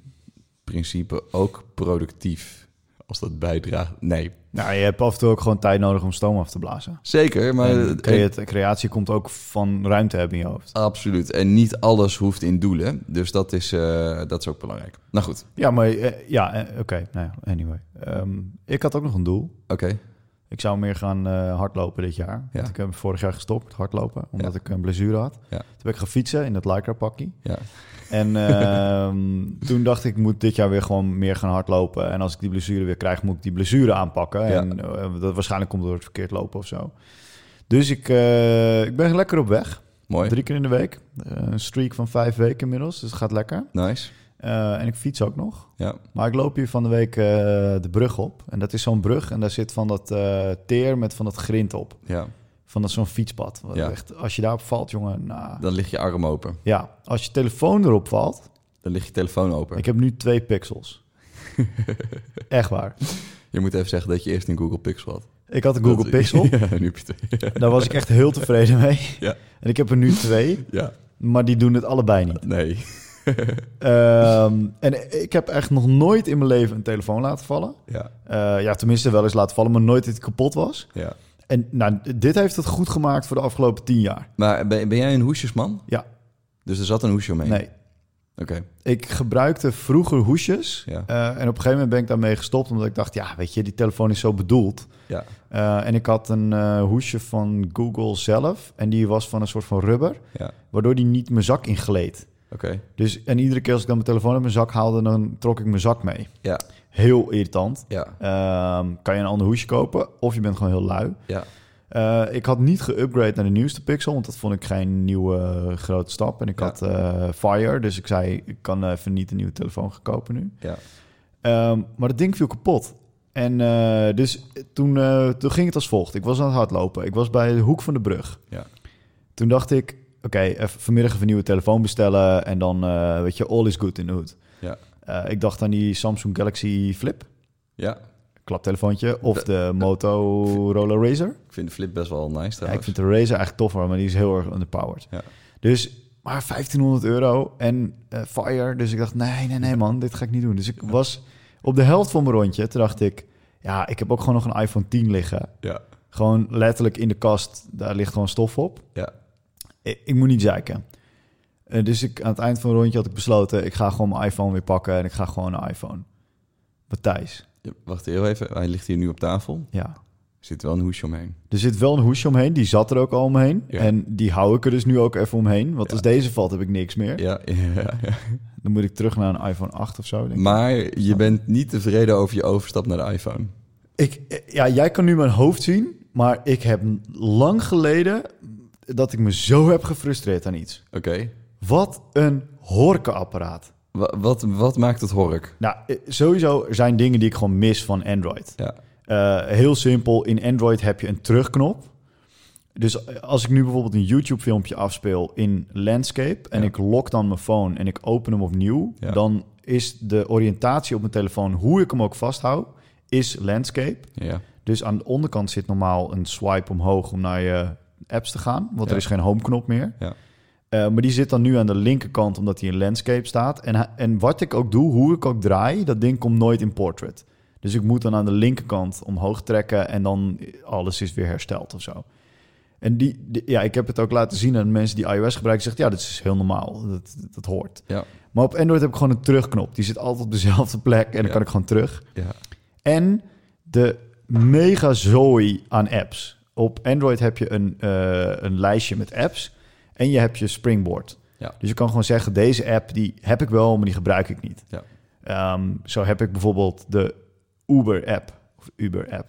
Speaker 2: principe ook productief. Als dat bijdraagt. Nee,
Speaker 1: Nou, je hebt af en toe ook gewoon tijd nodig om stoom af te blazen.
Speaker 2: zeker. Maar
Speaker 1: En
Speaker 2: eh,
Speaker 1: crea- creatie komt ook van ruimte hebben in je hoofd.
Speaker 2: absoluut. En niet alles hoeft in doelen. Dus dat is, eh, dat is ook belangrijk. Nou goed,
Speaker 1: Ja, maar eh, ja, eh, oké. nou ja, anyway. Ehm, ik had ook nog een doel.
Speaker 2: oké.
Speaker 1: Ik zou meer gaan eh, hardlopen dit jaar. Want
Speaker 2: Ja.
Speaker 1: ik heb vorig jaar gestopt met hardlopen, omdat ik een blessure had.
Speaker 2: Ja.
Speaker 1: Toen ben ik gaan fietsen in dat Lycra-pakkie.
Speaker 2: Ja.
Speaker 1: En ehm, toen dacht ik, ik moet dit jaar weer gewoon meer gaan hardlopen. En als ik die blessure weer krijg, moet ik die blessure aanpakken.
Speaker 2: Ja.
Speaker 1: En eh, dat waarschijnlijk komt door het verkeerd lopen of zo. Dus ik, eh, ik ben lekker op weg.
Speaker 2: Mooi.
Speaker 1: Drie keer in de week. Eh, een streak van vijf weken inmiddels, dus het gaat lekker.
Speaker 2: Nice.
Speaker 1: Eh, en ik fiets ook nog.
Speaker 2: Ja.
Speaker 1: Maar ik loop hier van de week eh, de brug op. En dat is zo'n brug en daar zit van dat eh, teer met van dat grind op.
Speaker 2: ja,
Speaker 1: Van dat zo'n fietspad. Wat
Speaker 2: Ja.
Speaker 1: echt, als je daarop valt, jongen, nou...
Speaker 2: dan ligt je arm open.
Speaker 1: Ja, als je telefoon erop valt,
Speaker 2: Dan ligt je telefoon open.
Speaker 1: ik heb nu twee pixels. Echt waar.
Speaker 2: Je moet even zeggen dat je eerst een Google Pixel had.
Speaker 1: Ik had een Google
Speaker 2: Dat-
Speaker 1: Pixel.
Speaker 2: ja, nu heb je twee.
Speaker 1: Daar was ik echt heel tevreden mee.
Speaker 2: Ja.
Speaker 1: En ik heb er nu twee,
Speaker 2: Ja,
Speaker 1: maar die doen het allebei niet.
Speaker 2: nee.
Speaker 1: Ehm, en ik heb echt nog nooit in mijn leven een telefoon laten vallen.
Speaker 2: Ja,
Speaker 1: Eh, ja, tenminste wel eens laten vallen, maar nooit dat hij kapot was.
Speaker 2: ja.
Speaker 1: En nou, dit heeft het goed gemaakt voor de afgelopen tien jaar.
Speaker 2: Maar ben, ben jij een hoesjesman?
Speaker 1: Ja.
Speaker 2: Dus er zat een hoesje omheen?
Speaker 1: Nee.
Speaker 2: Oké,
Speaker 1: Ik gebruikte vroeger hoesjes.
Speaker 2: Ja.
Speaker 1: Eh, en op een gegeven moment ben ik daarmee gestopt. Omdat ik dacht, ja, weet je, die telefoon is zo bedoeld.
Speaker 2: ja.
Speaker 1: Eh, en ik had een eh, hoesje van Google zelf. En die was van een soort van rubber.
Speaker 2: Ja.
Speaker 1: Waardoor die niet mijn zak ingleed.
Speaker 2: Oké,
Speaker 1: Dus, en iedere keer als ik dan mijn telefoon uit mijn zak haalde, dan trok ik mijn zak mee.
Speaker 2: ja,
Speaker 1: Heel irritant.
Speaker 2: ja,
Speaker 1: Ehm, kan je een ander hoesje kopen of je bent gewoon heel lui.
Speaker 2: ja,
Speaker 1: Eh, ik had niet geüpgrade naar de nieuwste Pixel, want dat vond ik geen nieuwe eh, grote stap. En ik
Speaker 2: Ja.
Speaker 1: had eh, Fire, dus ik zei, ik kan even niet een nieuwe telefoon gaan kopen nu.
Speaker 2: ja.
Speaker 1: Ehm, maar dat ding viel kapot. En eh, dus toen, eh, toen ging het als volgt. Ik was aan het hardlopen. Ik was bij de hoek van de brug.
Speaker 2: Ja.
Speaker 1: Toen dacht ik, oké, even vanmiddag even een nieuwe telefoon bestellen. En dan, eh, weet je, all is good in the hood.
Speaker 2: Ja.
Speaker 1: Eh, ik dacht aan die Samsung Galaxy Flip,
Speaker 2: ja.
Speaker 1: klaptelefoontje. Of de Motorola Razr.
Speaker 2: Ik vind de flip best wel nice
Speaker 1: Ja, ik
Speaker 2: trouwens.
Speaker 1: vind de Razer eigenlijk toffer, maar die is heel erg underpowered.
Speaker 2: Ja.
Speaker 1: Dus maar 1500 euro en eh, Fire. Dus ik dacht, nee, nee, nee man, dit ga ik niet doen. Dus ik was Op de helft van mijn rondje, toen dacht ik... Ja, ik heb ook gewoon nog een iPhone 10 liggen.
Speaker 2: Ja.
Speaker 1: Gewoon letterlijk in de kast, daar ligt gewoon stof op.
Speaker 2: Ja.
Speaker 1: Ik, ik moet niet zeiken. Eh, dus ik, aan het eind van een rondje had ik besloten... ik ga gewoon mijn iPhone weer pakken en ik ga gewoon een iPhone. Matthijs,
Speaker 2: Ja, Wacht heel even, hij ligt hier nu op tafel.
Speaker 1: ja.
Speaker 2: Er zit wel een hoesje omheen.
Speaker 1: Er zit wel een hoesje omheen, die zat er ook al omheen.
Speaker 2: Ja.
Speaker 1: En die hou ik er dus nu ook even omheen. Want
Speaker 2: Ja.
Speaker 1: als deze valt, heb ik niks meer.
Speaker 2: Ja, ja, ja.
Speaker 1: Dan moet ik terug naar een iPhone 8 of zo, denk ik.
Speaker 2: Maar je bent niet tevreden over je overstap naar de iPhone.
Speaker 1: Ik, eh, ja, jij kan nu mijn hoofd zien, maar ik heb lang geleden dat ik me zo heb gefrustreerd aan iets.
Speaker 2: Oké.
Speaker 1: Wat een horkenapparaat.
Speaker 2: Wa- Wat, wat maakt het hork?
Speaker 1: Nou, eh, sowieso er zijn dingen die ik gewoon mis van Android.
Speaker 2: Ja.
Speaker 1: Eh, heel simpel, in Android heb je een terugknop. Dus eh, als ik nu bijvoorbeeld een YouTube-filmpje afspeel in Landscape... en
Speaker 2: Ja.
Speaker 1: ik lok dan mijn phone en ik open hem opnieuw...
Speaker 2: Ja.
Speaker 1: dan is de oriëntatie op mijn telefoon, hoe ik hem ook vasthoud, is Landscape.
Speaker 2: Ja.
Speaker 1: Dus aan de onderkant zit normaal een swipe omhoog om naar je apps te gaan, want
Speaker 2: Ja.
Speaker 1: er is geen home-knop meer.
Speaker 2: Ja.
Speaker 1: Eh, maar die zit dan nu aan de linkerkant omdat hij in landscape staat. En, hij- en wat ik ook doe, hoe ik ook draai, dat ding komt nooit in portrait. Dus ik moet dan aan de linkerkant omhoog trekken en dan alles is weer hersteld of zo. En die, die- ja, ik heb het ook laten zien aan mensen die iOS gebruiken. Zegt ja, dat is heel normaal. Dat, dat hoort.
Speaker 2: Ja.
Speaker 1: Maar op Android heb ik gewoon een terugknop. Die zit altijd op dezelfde plek en dan
Speaker 2: Ja.
Speaker 1: kan ik gewoon terug.
Speaker 2: Ja.
Speaker 1: En de mega zooi aan apps. Op Android heb je een, eh, een lijstje met apps. En je hebt je Springboard.
Speaker 2: Ja.
Speaker 1: Dus je kan gewoon zeggen, deze app die heb ik wel, maar die gebruik ik niet.
Speaker 2: Ja.
Speaker 1: Ehm, zo heb ik bijvoorbeeld de Uber-app. Of Uber-app.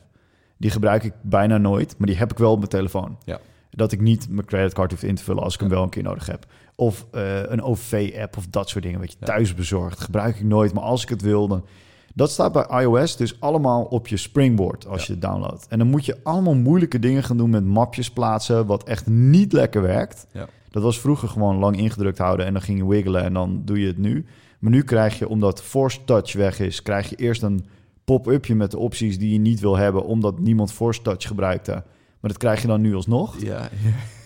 Speaker 1: Die gebruik ik bijna nooit, maar die heb ik wel op mijn telefoon.
Speaker 2: Ja.
Speaker 1: Dat ik niet mijn creditcard hoef in te vullen als ik hem
Speaker 2: Ja.
Speaker 1: wel een keer nodig heb. Of eh, een OV-app of dat soort dingen. Weet je,
Speaker 2: Ja.
Speaker 1: thuisbezorgd gebruik ik nooit, maar als ik het wil, dan dat staat bij iOS dus allemaal op je Springboard als
Speaker 2: Ja.
Speaker 1: je het downloadt. En dan moet je allemaal moeilijke dingen gaan doen met mapjes plaatsen, wat echt niet lekker werkt.
Speaker 2: Ja.
Speaker 1: Dat was vroeger gewoon lang ingedrukt houden en dan ging je wiggelen en dan doe je het nu. Maar nu krijg je, omdat Force Touch weg is, krijg je eerst een pop-upje met de opties die je niet wil hebben, omdat niemand Force Touch gebruikte. Maar dat krijg je dan nu alsnog.
Speaker 2: Ja.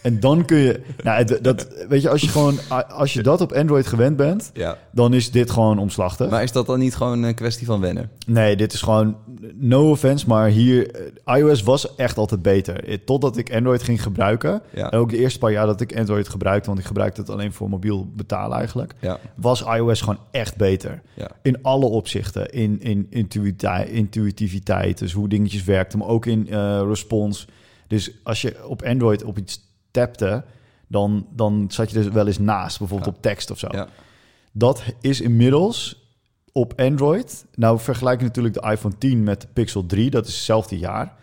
Speaker 1: En dan kun je, nou, het- dat, weet je, als je gewoon, als je dat op Android gewend bent,
Speaker 2: ja.
Speaker 1: dan is dit gewoon omslachtig.
Speaker 2: Maar is dat dan niet gewoon een kwestie van wennen?
Speaker 1: Nee, dit is gewoon no offense, maar hier eh, iOS was echt altijd beter. Eh, Totdat ik Android ging gebruiken.
Speaker 2: Ja.
Speaker 1: En ook de eerste paar jaar dat ik Android gebruikte, want ik gebruikte het alleen voor mobiel betalen eigenlijk,
Speaker 2: Ja.
Speaker 1: was iOS gewoon echt beter.
Speaker 2: Ja.
Speaker 1: In alle opzichten. In, in intuïti- intuïtiviteit, dus hoe dingetjes werkten, maar ook in eh response. Dus als je op Android op iets tapte, dan, dan zat je dus wel eens naast, bijvoorbeeld
Speaker 2: Ja.
Speaker 1: op tekst of zo.
Speaker 2: Ja.
Speaker 1: Dat is inmiddels op Android. Nou, vergelijk natuurlijk de iPhone 10 met de Pixel 3, dat is hetzelfde jaar.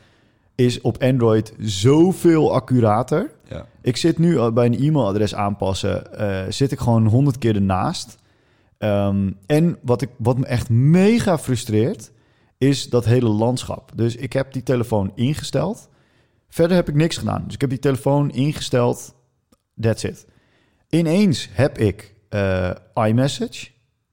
Speaker 1: Is op Android zoveel accurater.
Speaker 2: Ja.
Speaker 1: Ik zit nu al bij een e-mailadres aanpassen, eh, zit ik gewoon honderd keer ernaast. Ehm, en wat, ik, wat me echt mega frustreert, is dat hele landschap. Dus ik heb die telefoon ingesteld. Verder heb ik niks gedaan. Dus ik heb die telefoon ingesteld. That's it. Ineens heb ik eh, iMessage.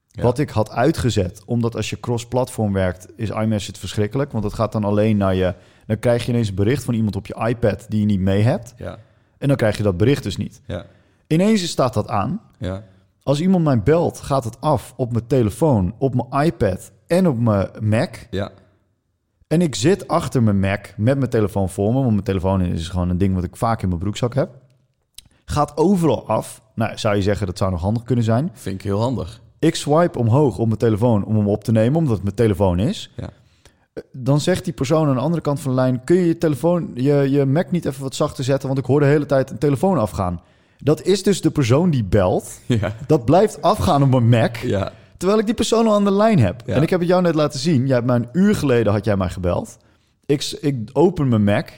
Speaker 2: Ja.
Speaker 1: Wat ik had uitgezet, omdat als je cross-platform werkt, is iMessage verschrikkelijk. Want dat gaat dan alleen naar je. Dan krijg je ineens een bericht van iemand op je iPad die je niet mee hebt.
Speaker 2: Ja.
Speaker 1: En dan krijg je dat bericht dus niet.
Speaker 2: Ja.
Speaker 1: Ineens staat dat aan.
Speaker 2: Ja.
Speaker 1: Als iemand mij belt, gaat het af op mijn telefoon, op mijn iPad en op mijn Mac.
Speaker 2: Ja.
Speaker 1: En ik zit achter mijn Mac met mijn telefoon voor me. Want mijn telefoon is gewoon een ding wat ik vaak in mijn broekzak heb. Gaat overal af. Nou, zou je zeggen dat zou nog handig kunnen zijn.
Speaker 2: Vind ik heel handig.
Speaker 1: Ik swipe omhoog op mijn telefoon om hem op te nemen, omdat het mijn telefoon is.
Speaker 2: Ja.
Speaker 1: Dan zegt die persoon aan de andere kant van de lijn: Kun je je telefoon, je, je Mac niet even wat zachter zetten? Want ik hoor de hele tijd een telefoon afgaan. Dat is dus de persoon die belt.
Speaker 2: Ja.
Speaker 1: Dat blijft afgaan op mijn Mac.
Speaker 2: Ja.
Speaker 1: Terwijl ik die persoon al aan de lijn heb.
Speaker 2: Ja.
Speaker 1: En ik heb het jou net laten zien. Jij hebt mij een uur geleden had jij mij gebeld. Ik, s- ik open mijn Mac.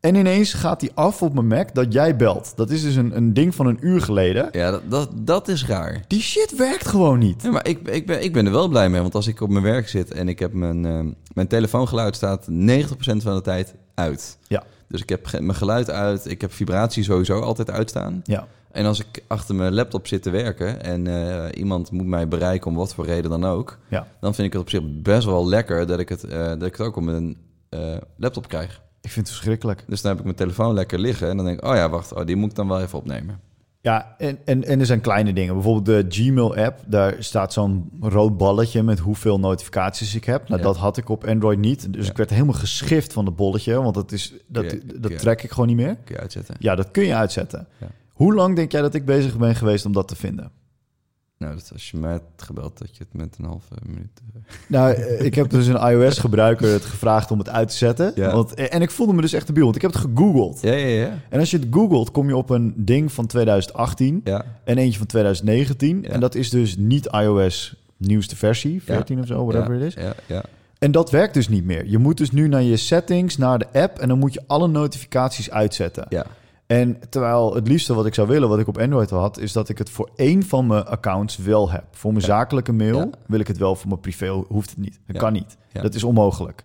Speaker 1: En ineens gaat die af op mijn Mac dat jij belt. Dat is dus een, een ding van een uur geleden.
Speaker 2: Ja, dat, dat, dat is raar.
Speaker 1: Die shit werkt gewoon niet.
Speaker 2: Ja, maar ik, ik, ben, ik ben er wel blij mee. Want als ik op mijn werk zit en ik heb mijn, ehm, mijn telefoongeluid staat 90% van de tijd uit.
Speaker 1: Ja.
Speaker 2: Dus ik heb ge- mijn geluid uit. Ik heb vibratie sowieso altijd uitstaan.
Speaker 1: Ja.
Speaker 2: En als ik achter mijn laptop zit te werken en eh, iemand moet mij bereiken om wat voor reden dan ook.
Speaker 1: Ja.
Speaker 2: Dan vind ik het op zich best wel lekker dat ik het, eh, dat ik het ook op mijn eh, laptop krijg.
Speaker 1: Ik vind het verschrikkelijk.
Speaker 2: Dus dan heb ik mijn telefoon lekker liggen en dan denk ik, oh ja, wacht, oh, die moet ik dan wel even opnemen.
Speaker 1: Ja, en, en, en er zijn kleine dingen. Bijvoorbeeld de Gmail-app, daar staat zo'n rood balletje met hoeveel notificaties ik heb. Nou,
Speaker 2: Ja.
Speaker 1: dat had ik op Android niet. Dus
Speaker 2: Ja.
Speaker 1: ik werd helemaal geschift van dat bolletje, want dat, is, dat,
Speaker 2: Ja,
Speaker 1: dat
Speaker 2: ja.
Speaker 1: trek ik gewoon niet meer.
Speaker 2: Kun je uitzetten.
Speaker 1: Ja, dat kun je uitzetten.
Speaker 2: Ja.
Speaker 1: Hoe lang denk jij dat ik bezig ben geweest om dat te vinden?
Speaker 2: Nou, dat als je mij had gebeld, dat je het met een halve minuut... eh,
Speaker 1: Nou, eh, ik heb dus een iOS-gebruiker het gevraagd om het uit te zetten.
Speaker 2: Ja.
Speaker 1: Want, en ik voelde me dus echt debiel, want ik heb het gegoogeld.
Speaker 2: Ja, ja, ja.
Speaker 1: En als je het googelt, kom je op een ding van 2018
Speaker 2: Ja,
Speaker 1: en eentje van 2019.
Speaker 2: Ja.
Speaker 1: En dat is dus niet iOS nieuwste versie, 14 of zo, whatever
Speaker 2: ja,
Speaker 1: het Oh, is.
Speaker 2: Ja, ja.
Speaker 1: En dat werkt dus niet meer. Je moet dus nu naar je settings, naar de app... en dan moet je alle notificaties uitzetten.
Speaker 2: ja.
Speaker 1: En terwijl het liefste wat ik zou willen, wat ik op Android al had, is dat ik het voor één van mijn accounts wel heb. Voor mijn
Speaker 2: Ja.
Speaker 1: zakelijke mail
Speaker 2: Ja.
Speaker 1: wil ik het wel, voor mijn privé hoeft het niet. Dat
Speaker 2: Ja.
Speaker 1: kan niet.
Speaker 2: Ja.
Speaker 1: Dat is onmogelijk.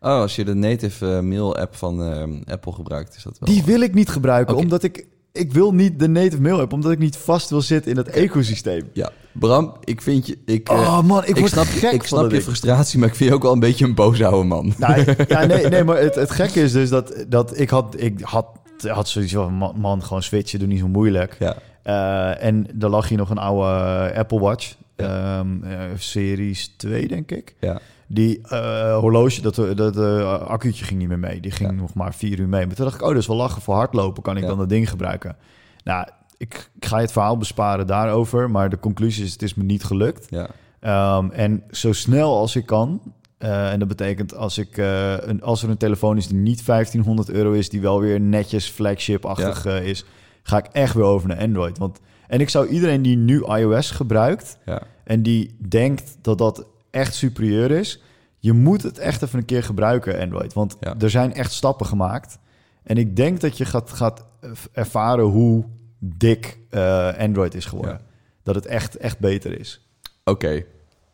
Speaker 2: Oh, als je de native eh, mail-app van eh, Apple gebruikt, is dat wel...
Speaker 1: Die wil ik niet gebruiken,
Speaker 2: Oké.
Speaker 1: omdat ik, ik wil niet de native mail app, omdat ik niet vast wil zitten in dat ecosysteem.
Speaker 2: Ja, Bram, ik vind je... Ik, eh,
Speaker 1: oh man, ik, word
Speaker 2: snap,
Speaker 1: gek
Speaker 2: ik
Speaker 1: van
Speaker 2: snap
Speaker 1: dat
Speaker 2: je
Speaker 1: ding.
Speaker 2: frustratie, maar ik vind je ook wel een beetje een boos oude man.
Speaker 1: Nou, ik- ja, nee, nee, maar het, het gekke is dus dat, dat ik had, ik had, had zoiets van, man, man, gewoon switchen, doe niet zo moeilijk.
Speaker 2: Ja,
Speaker 1: Eh, en daar lag hier nog een oude eh, Apple Watch, ehm, eh, series 2 denk ik.
Speaker 2: ja,
Speaker 1: Die eh, horloge, dat, dat eh, accuutje ging niet meer mee. Die ging nog maar vier uur mee. Maar toen dacht ik, oh, dat is wel lachen. Voor hardlopen kan ik
Speaker 2: Ja.
Speaker 1: dan dat ding gebruiken. Nou, ik, ik ga je het verhaal besparen daarover. Maar de conclusie is, het is me niet gelukt.
Speaker 2: ja.
Speaker 1: Ehm, en zo snel als ik kan... eh, en dat betekent als, ik, eh, een, als er een telefoon is die niet 1500 euro is... die wel weer netjes flagship-achtig eh, is... ga ik echt weer over naar Android. Want, en ik zou iedereen die nu iOS gebruikt
Speaker 2: ja.
Speaker 1: en die denkt dat dat echt superieur is, je moet het echt even een keer gebruiken, Android. Want
Speaker 2: Ja.
Speaker 1: er zijn echt stappen gemaakt. En ik denk dat je gaat, gaat ervaren hoe dik eh, Android is geworden. Dat het echt, echt beter is.
Speaker 2: Oké,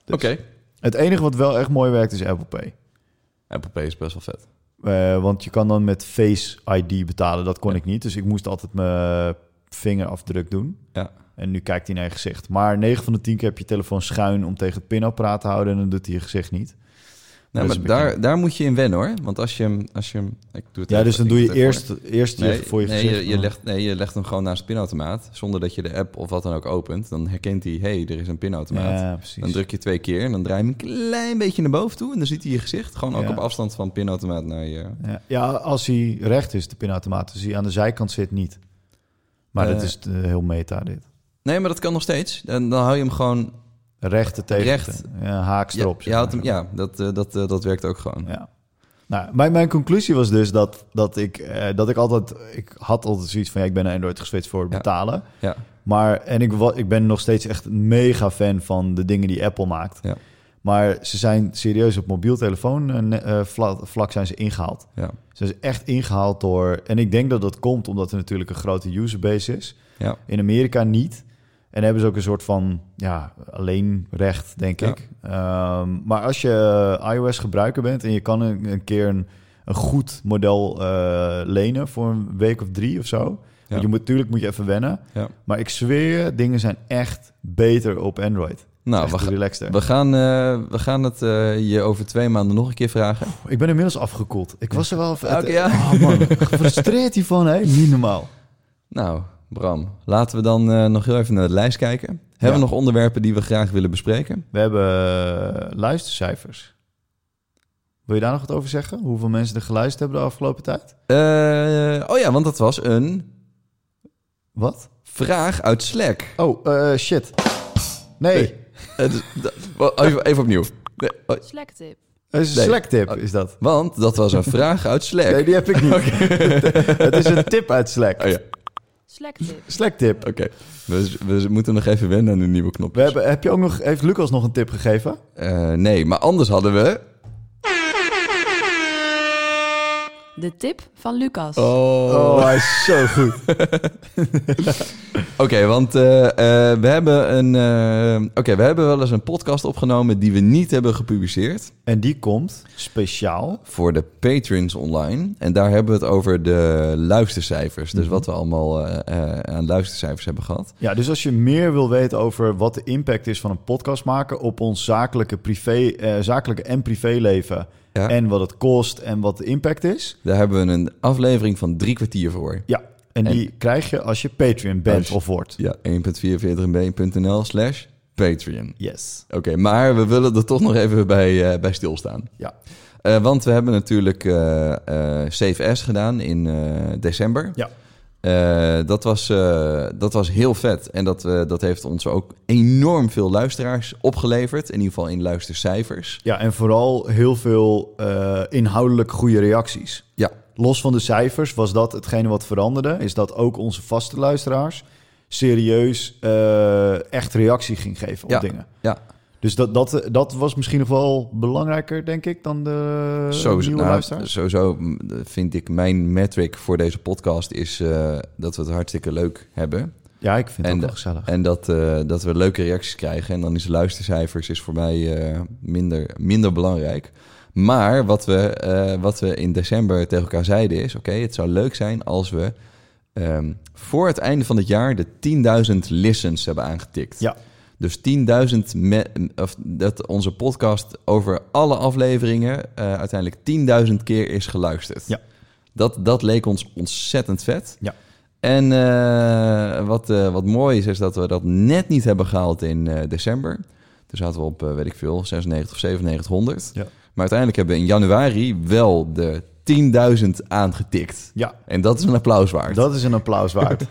Speaker 1: Dus
Speaker 2: oké.
Speaker 1: Het enige wat wel echt mooi werkt is Apple Pay.
Speaker 2: Apple Pay is best wel vet.
Speaker 1: Eh, want je kan dan met Face ID betalen. Dat kon ik niet. Dus ik moest altijd mijn vingerafdruk doen.
Speaker 2: Ja.
Speaker 1: En nu kijkt hij naar je gezicht. Maar 9 van de 10 keer heb je telefoon schuin om tegen het pinapparaat te houden. En dan doet hij je gezicht niet.
Speaker 2: Nou,
Speaker 1: Dat is
Speaker 2: maar daar, daar moet je in wennen hoor. Want als je hem... Als je hem ik doe het
Speaker 1: Ja,
Speaker 2: even-
Speaker 1: dus dan
Speaker 2: ik
Speaker 1: doe je
Speaker 2: het even voor
Speaker 1: eerst, eerst Dus je voor je
Speaker 2: nee,
Speaker 1: gezicht.
Speaker 2: Je, je legt, nee, je legt hem gewoon naast de pinautomaat. Zonder dat je de app of wat dan ook opent. Dan herkent hij, hey, er is een pinautomaat.
Speaker 1: Ja, precies.
Speaker 2: dan druk je twee keer en dan draai je hem een klein beetje naar boven toe. En dan ziet hij je gezicht. Gewoon ook
Speaker 1: Ja.
Speaker 2: op afstand van pinautomaat naar je...
Speaker 1: ja. ja, als hij recht is, de pinautomaat, dus hij aan de zijkant zit niet. Maar
Speaker 2: Eh.
Speaker 1: dat is eh, heel meta dit.
Speaker 2: Nee, maar dat kan nog steeds. Dan, dan hou je hem gewoon...
Speaker 1: Rechte tegen
Speaker 2: Recht.
Speaker 1: ja, haaks
Speaker 2: Ja,
Speaker 1: erop.
Speaker 2: je
Speaker 1: zeg
Speaker 2: houdt hem,
Speaker 1: maar.
Speaker 2: ja dat, eh, dat, eh, dat werkt ook gewoon.
Speaker 1: Ja. Nou, mijn, mijn conclusie was dus dat, dat, ik, eh, dat ik altijd... Ik had altijd zoiets van, ja, ik ben naar Android geswitcht voor het
Speaker 2: Ja.
Speaker 1: betalen.
Speaker 2: Ja.
Speaker 1: Maar, en ik, wa- ik ben nog steeds echt een mega fan van de dingen die Apple maakt.
Speaker 2: Ja.
Speaker 1: Maar ze zijn serieus op mobiel telefoon eh, ne- eh, vla- vlak zijn ze ingehaald.
Speaker 2: Ja.
Speaker 1: Ze is echt ingehaald door... En ik denk dat dat komt omdat er natuurlijk een grote userbase is.
Speaker 2: Ja.
Speaker 1: In Amerika niet. En hebben ze ook een soort van ja, alleenrecht, denk
Speaker 2: Ja.
Speaker 1: ik. Ehm, maar als je iOS-gebruiker bent en je kan een, een keer een, een goed model eh, lenen voor een week of drie of zo. Want je moet, natuurlijk moet je even wennen.
Speaker 2: Ja.
Speaker 1: Maar ik zweer je, dingen zijn echt beter op Android.
Speaker 2: Nou,
Speaker 1: echt
Speaker 2: we, ga-
Speaker 1: relaxter.
Speaker 2: we, gaan, eh, we gaan het eh, je over twee maanden nog een keer vragen.
Speaker 1: Ik ben inmiddels afgekoeld. Ik was er wel... even-
Speaker 2: Oké, ja.
Speaker 1: Oh man, gefrustreerd hiervan, hè? Niet normaal.
Speaker 2: Nou, Bram, laten we dan eh, nog heel even naar de lijst kijken. Hebben we nog onderwerpen die we graag willen bespreken?
Speaker 1: We hebben eh, luistercijfers. Wil je daar nog wat over zeggen? Hoeveel mensen er geluisterd hebben de afgelopen tijd?
Speaker 2: Eh, oh ja, want dat was een
Speaker 1: Wat?
Speaker 2: vraag uit Slack.
Speaker 1: Oh, eh, shit. Nee,
Speaker 2: Nee. Het is- dat- wa- oh, even, even opnieuw. Nee, oh,
Speaker 3: Slektip.
Speaker 1: het is een
Speaker 2: Nee.
Speaker 1: Slack tip
Speaker 2: Oh.
Speaker 1: is dat.
Speaker 2: Want dat was een vraag uit Slack.
Speaker 1: Nee, die heb ik niet. het is een tip uit Slack.
Speaker 2: Oh ja,
Speaker 3: Slektip.
Speaker 1: Slack tip.
Speaker 2: oké. We, we moeten nog even wennen aan de nieuwe knop.
Speaker 1: We hebben, heb je ook nog, heeft Lucas nog een tip gegeven?
Speaker 2: Eh, nee, maar anders hadden we...
Speaker 3: De tip van Lucas.
Speaker 1: Oh, hij is zo goed.
Speaker 2: Oké, want eh, eh, we, hebben een, eh, oké, we hebben wel eens een podcast opgenomen die we niet hebben gepubliceerd.
Speaker 1: En die komt speciaal.
Speaker 2: voor de patrons online. En daar hebben we het over de luistercijfers.
Speaker 1: Mhm.
Speaker 2: Dus wat we allemaal eh, eh, aan luistercijfers hebben gehad.
Speaker 1: Ja, dus als je meer wil weten over wat de impact is van een podcast maken op ons zakelijke, privé, eh, zakelijke en privéleven.
Speaker 2: Ja.
Speaker 1: En wat het kost en wat de impact is.
Speaker 2: Daar hebben we een aflevering van drie kwartier voor.
Speaker 1: Ja, En,
Speaker 2: En-
Speaker 1: die krijg je als je Patreon bent
Speaker 2: Als je-
Speaker 1: of wordt.
Speaker 2: Ja, 1.44mb.nl slash Patreon.
Speaker 1: Yes.
Speaker 2: Oké, maar we willen er toch nog even bij, eh, bij stilstaan.
Speaker 1: Ja.
Speaker 2: Eh, want we hebben natuurlijk eh eh Save As gedaan in eh, december.
Speaker 1: Ja.
Speaker 2: Eh, dat, was, eh, dat was heel vet. En dat, eh, dat heeft ons ook enorm veel luisteraars opgeleverd. In ieder geval in luistercijfers.
Speaker 1: Ja, en vooral heel veel eh, inhoudelijk goede reacties.
Speaker 2: Ja.
Speaker 1: Los van de cijfers was dat hetgene wat veranderde. Is dat ook onze vaste luisteraars serieus eh, echt reactie ging geven op
Speaker 2: Ja.
Speaker 1: dingen.
Speaker 2: Ja,
Speaker 1: Dus dat, dat, dat was misschien nog wel belangrijker, denk ik, dan de
Speaker 2: zo,
Speaker 1: Eh, nieuwe
Speaker 2: nou,
Speaker 1: luisteraars.
Speaker 2: sowieso mm, vind ik mijn metric voor deze podcast is eh, dat we het hartstikke leuk hebben.
Speaker 1: Ja, ik vind het
Speaker 2: En
Speaker 1: ook wel
Speaker 2: de-
Speaker 1: gezellig.
Speaker 2: En dat, eh, dat we leuke reacties krijgen. En dan is luistercijfers is voor mij eh, minder, minder belangrijk. Maar wat we, eh, wat we in december tegen elkaar zeiden is... oké, het zou leuk zijn als we ehm, voor het einde van het jaar... de 10.000 listens hebben aangetikt.
Speaker 1: Ja.
Speaker 2: Dus 10.000... me- of dat onze podcast over alle afleveringen... eh, uiteindelijk 10.000 keer is geluisterd.
Speaker 1: Ja.
Speaker 2: Dat, dat leek ons ontzettend vet.
Speaker 1: Ja.
Speaker 2: En eh, wat, eh, wat mooi is, is dat we dat net niet hebben gehaald in eh, december. Toen zaten we op, eh, weet ik veel, 96 of 9700.
Speaker 1: Ja.
Speaker 2: Maar uiteindelijk hebben we in januari wel de 10.000 aangetikt.
Speaker 1: ja,
Speaker 2: En dat is een applaus waard.
Speaker 1: dat is een applaus waard.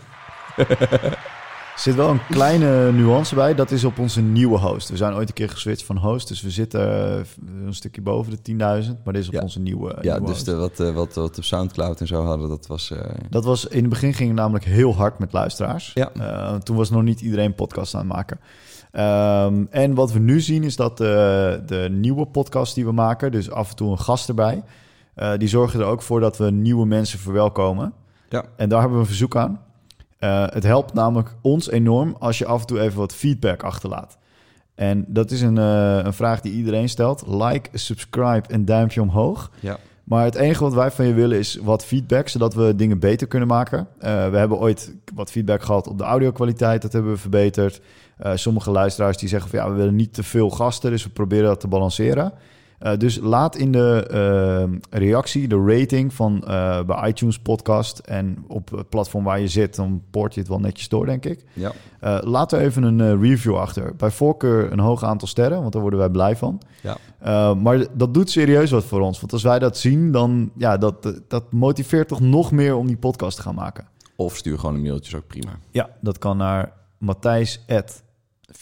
Speaker 1: Er zit wel een kleine nuance bij. Dat is op onze nieuwe host. We zijn ooit een keer geswitcht van host. Dus we zitten eh, een stukje boven de 10.000. Maar dit is op
Speaker 2: Ja.
Speaker 1: onze nieuwe,
Speaker 2: ja,
Speaker 1: nieuwe
Speaker 2: dus
Speaker 1: host.
Speaker 2: de, wat, eh, wat, wat op Soundcloud en zo hadden, dat was... eh,
Speaker 1: Dat was in het begin ging het namelijk heel hard met luisteraars.
Speaker 2: Ja.
Speaker 1: Eh, toen was nog niet iedereen podcast aan het maken. Ehm, en wat we nu zien is dat de, de nieuwe podcast die we maken, dus af en toe een gast erbij, eh, die zorgen er ook voor dat we nieuwe mensen verwelkomen.
Speaker 2: Ja.
Speaker 1: En daar hebben we een verzoek aan. Eh, het helpt namelijk ons enorm als je af en toe even wat feedback achterlaat. En dat is een, eh, een vraag die iedereen stelt. Like, subscribe en duimpje omhoog.
Speaker 2: ja.
Speaker 1: Maar het enige wat wij van je willen is wat feedback, zodat we dingen beter kunnen maken. Eh, we hebben ooit wat feedback gehad op de audio-kwaliteit, dat hebben we verbeterd. Eh, sommige luisteraars die zeggen van ja, we willen niet te veel gasten, dus we proberen dat te balanceren. Eh, dus laat in de eh, reactie, de rating van eh, bij iTunes podcast en op het platform waar je zit, dan poort je het wel netjes door, denk ik.
Speaker 2: ja.
Speaker 1: Eh, laat er even een eh, review achter. Bij voorkeur een hoog aantal sterren, want daar worden wij blij van.
Speaker 2: Ja.
Speaker 1: Eh, maar dat doet serieus wat voor ons. Want als wij dat zien, dan ja, dat, dat motiveert toch nog meer om die podcast te gaan maken.
Speaker 2: Of stuur gewoon een mailtje, is ook prima.
Speaker 1: Ja, dat kan naar Matthijs.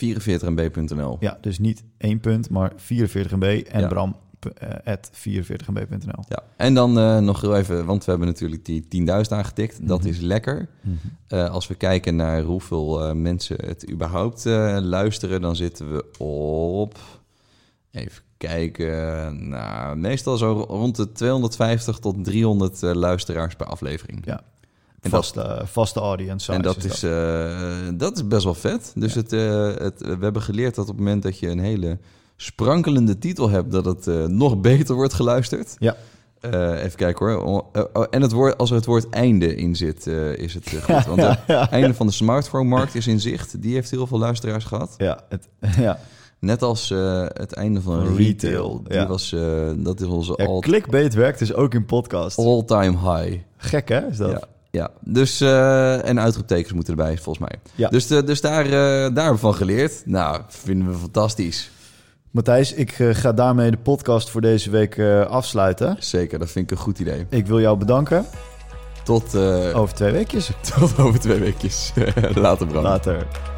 Speaker 2: 44mb.nl.
Speaker 1: Ja, dus niet één punt, maar 44mb en
Speaker 2: Ja.
Speaker 1: Bram. eh, at 44mb.nl.
Speaker 2: Ja. En dan eh, nog heel even, want we hebben natuurlijk die 10.000 aangetikt. Dat
Speaker 1: Mhm.
Speaker 2: is lekker. Eh, als we kijken naar hoeveel eh, mensen het überhaupt eh, luisteren, dan zitten we op. Even kijken. Nou, meestal zo rond de 250 tot 300 eh, luisteraars per aflevering.
Speaker 1: Ja.
Speaker 2: En dat,
Speaker 1: Vaste, eh, vaste audience. size
Speaker 2: en dat, is, eh, dat is best wel vet. Dus
Speaker 1: Ja.
Speaker 2: het, eh, het, we hebben geleerd dat op het moment dat je een hele sprankelende titel hebt, dat het eh, nog beter wordt geluisterd.
Speaker 1: Ja.
Speaker 2: Eh, even kijken hoor. O- eh, oh, en het woord, als er het woord einde in zit, eh, is het eh, goed. Want het einde van de smartphone-markt is in zicht. Die heeft heel veel luisteraars gehad.
Speaker 1: Ja, het, ja.
Speaker 2: Net als eh, het einde van
Speaker 1: Van
Speaker 2: retail.
Speaker 1: retail,
Speaker 2: Die
Speaker 1: ja.
Speaker 2: was, eh, dat is onze
Speaker 1: ja
Speaker 2: all-
Speaker 1: clickbait werkt dus ook in podcast.
Speaker 2: all-time high.
Speaker 1: Gek hè, is dat?
Speaker 2: Ja, ja. Dus, eh, en uitroeptekens moeten erbij, volgens mij.
Speaker 1: Ja.
Speaker 2: Dus, eh, dus daar, eh, daar hebben we van geleerd. Nou, vinden we fantastisch.
Speaker 1: Matthijs, ik eh, ga daarmee de podcast voor deze week eh, afsluiten.
Speaker 2: Zeker, dat vind ik een goed idee.
Speaker 1: Ik wil jou bedanken.
Speaker 2: Tot, eh,
Speaker 1: Over twee weekjes.
Speaker 2: tot over twee weekjes. Later, Bram.
Speaker 1: Later.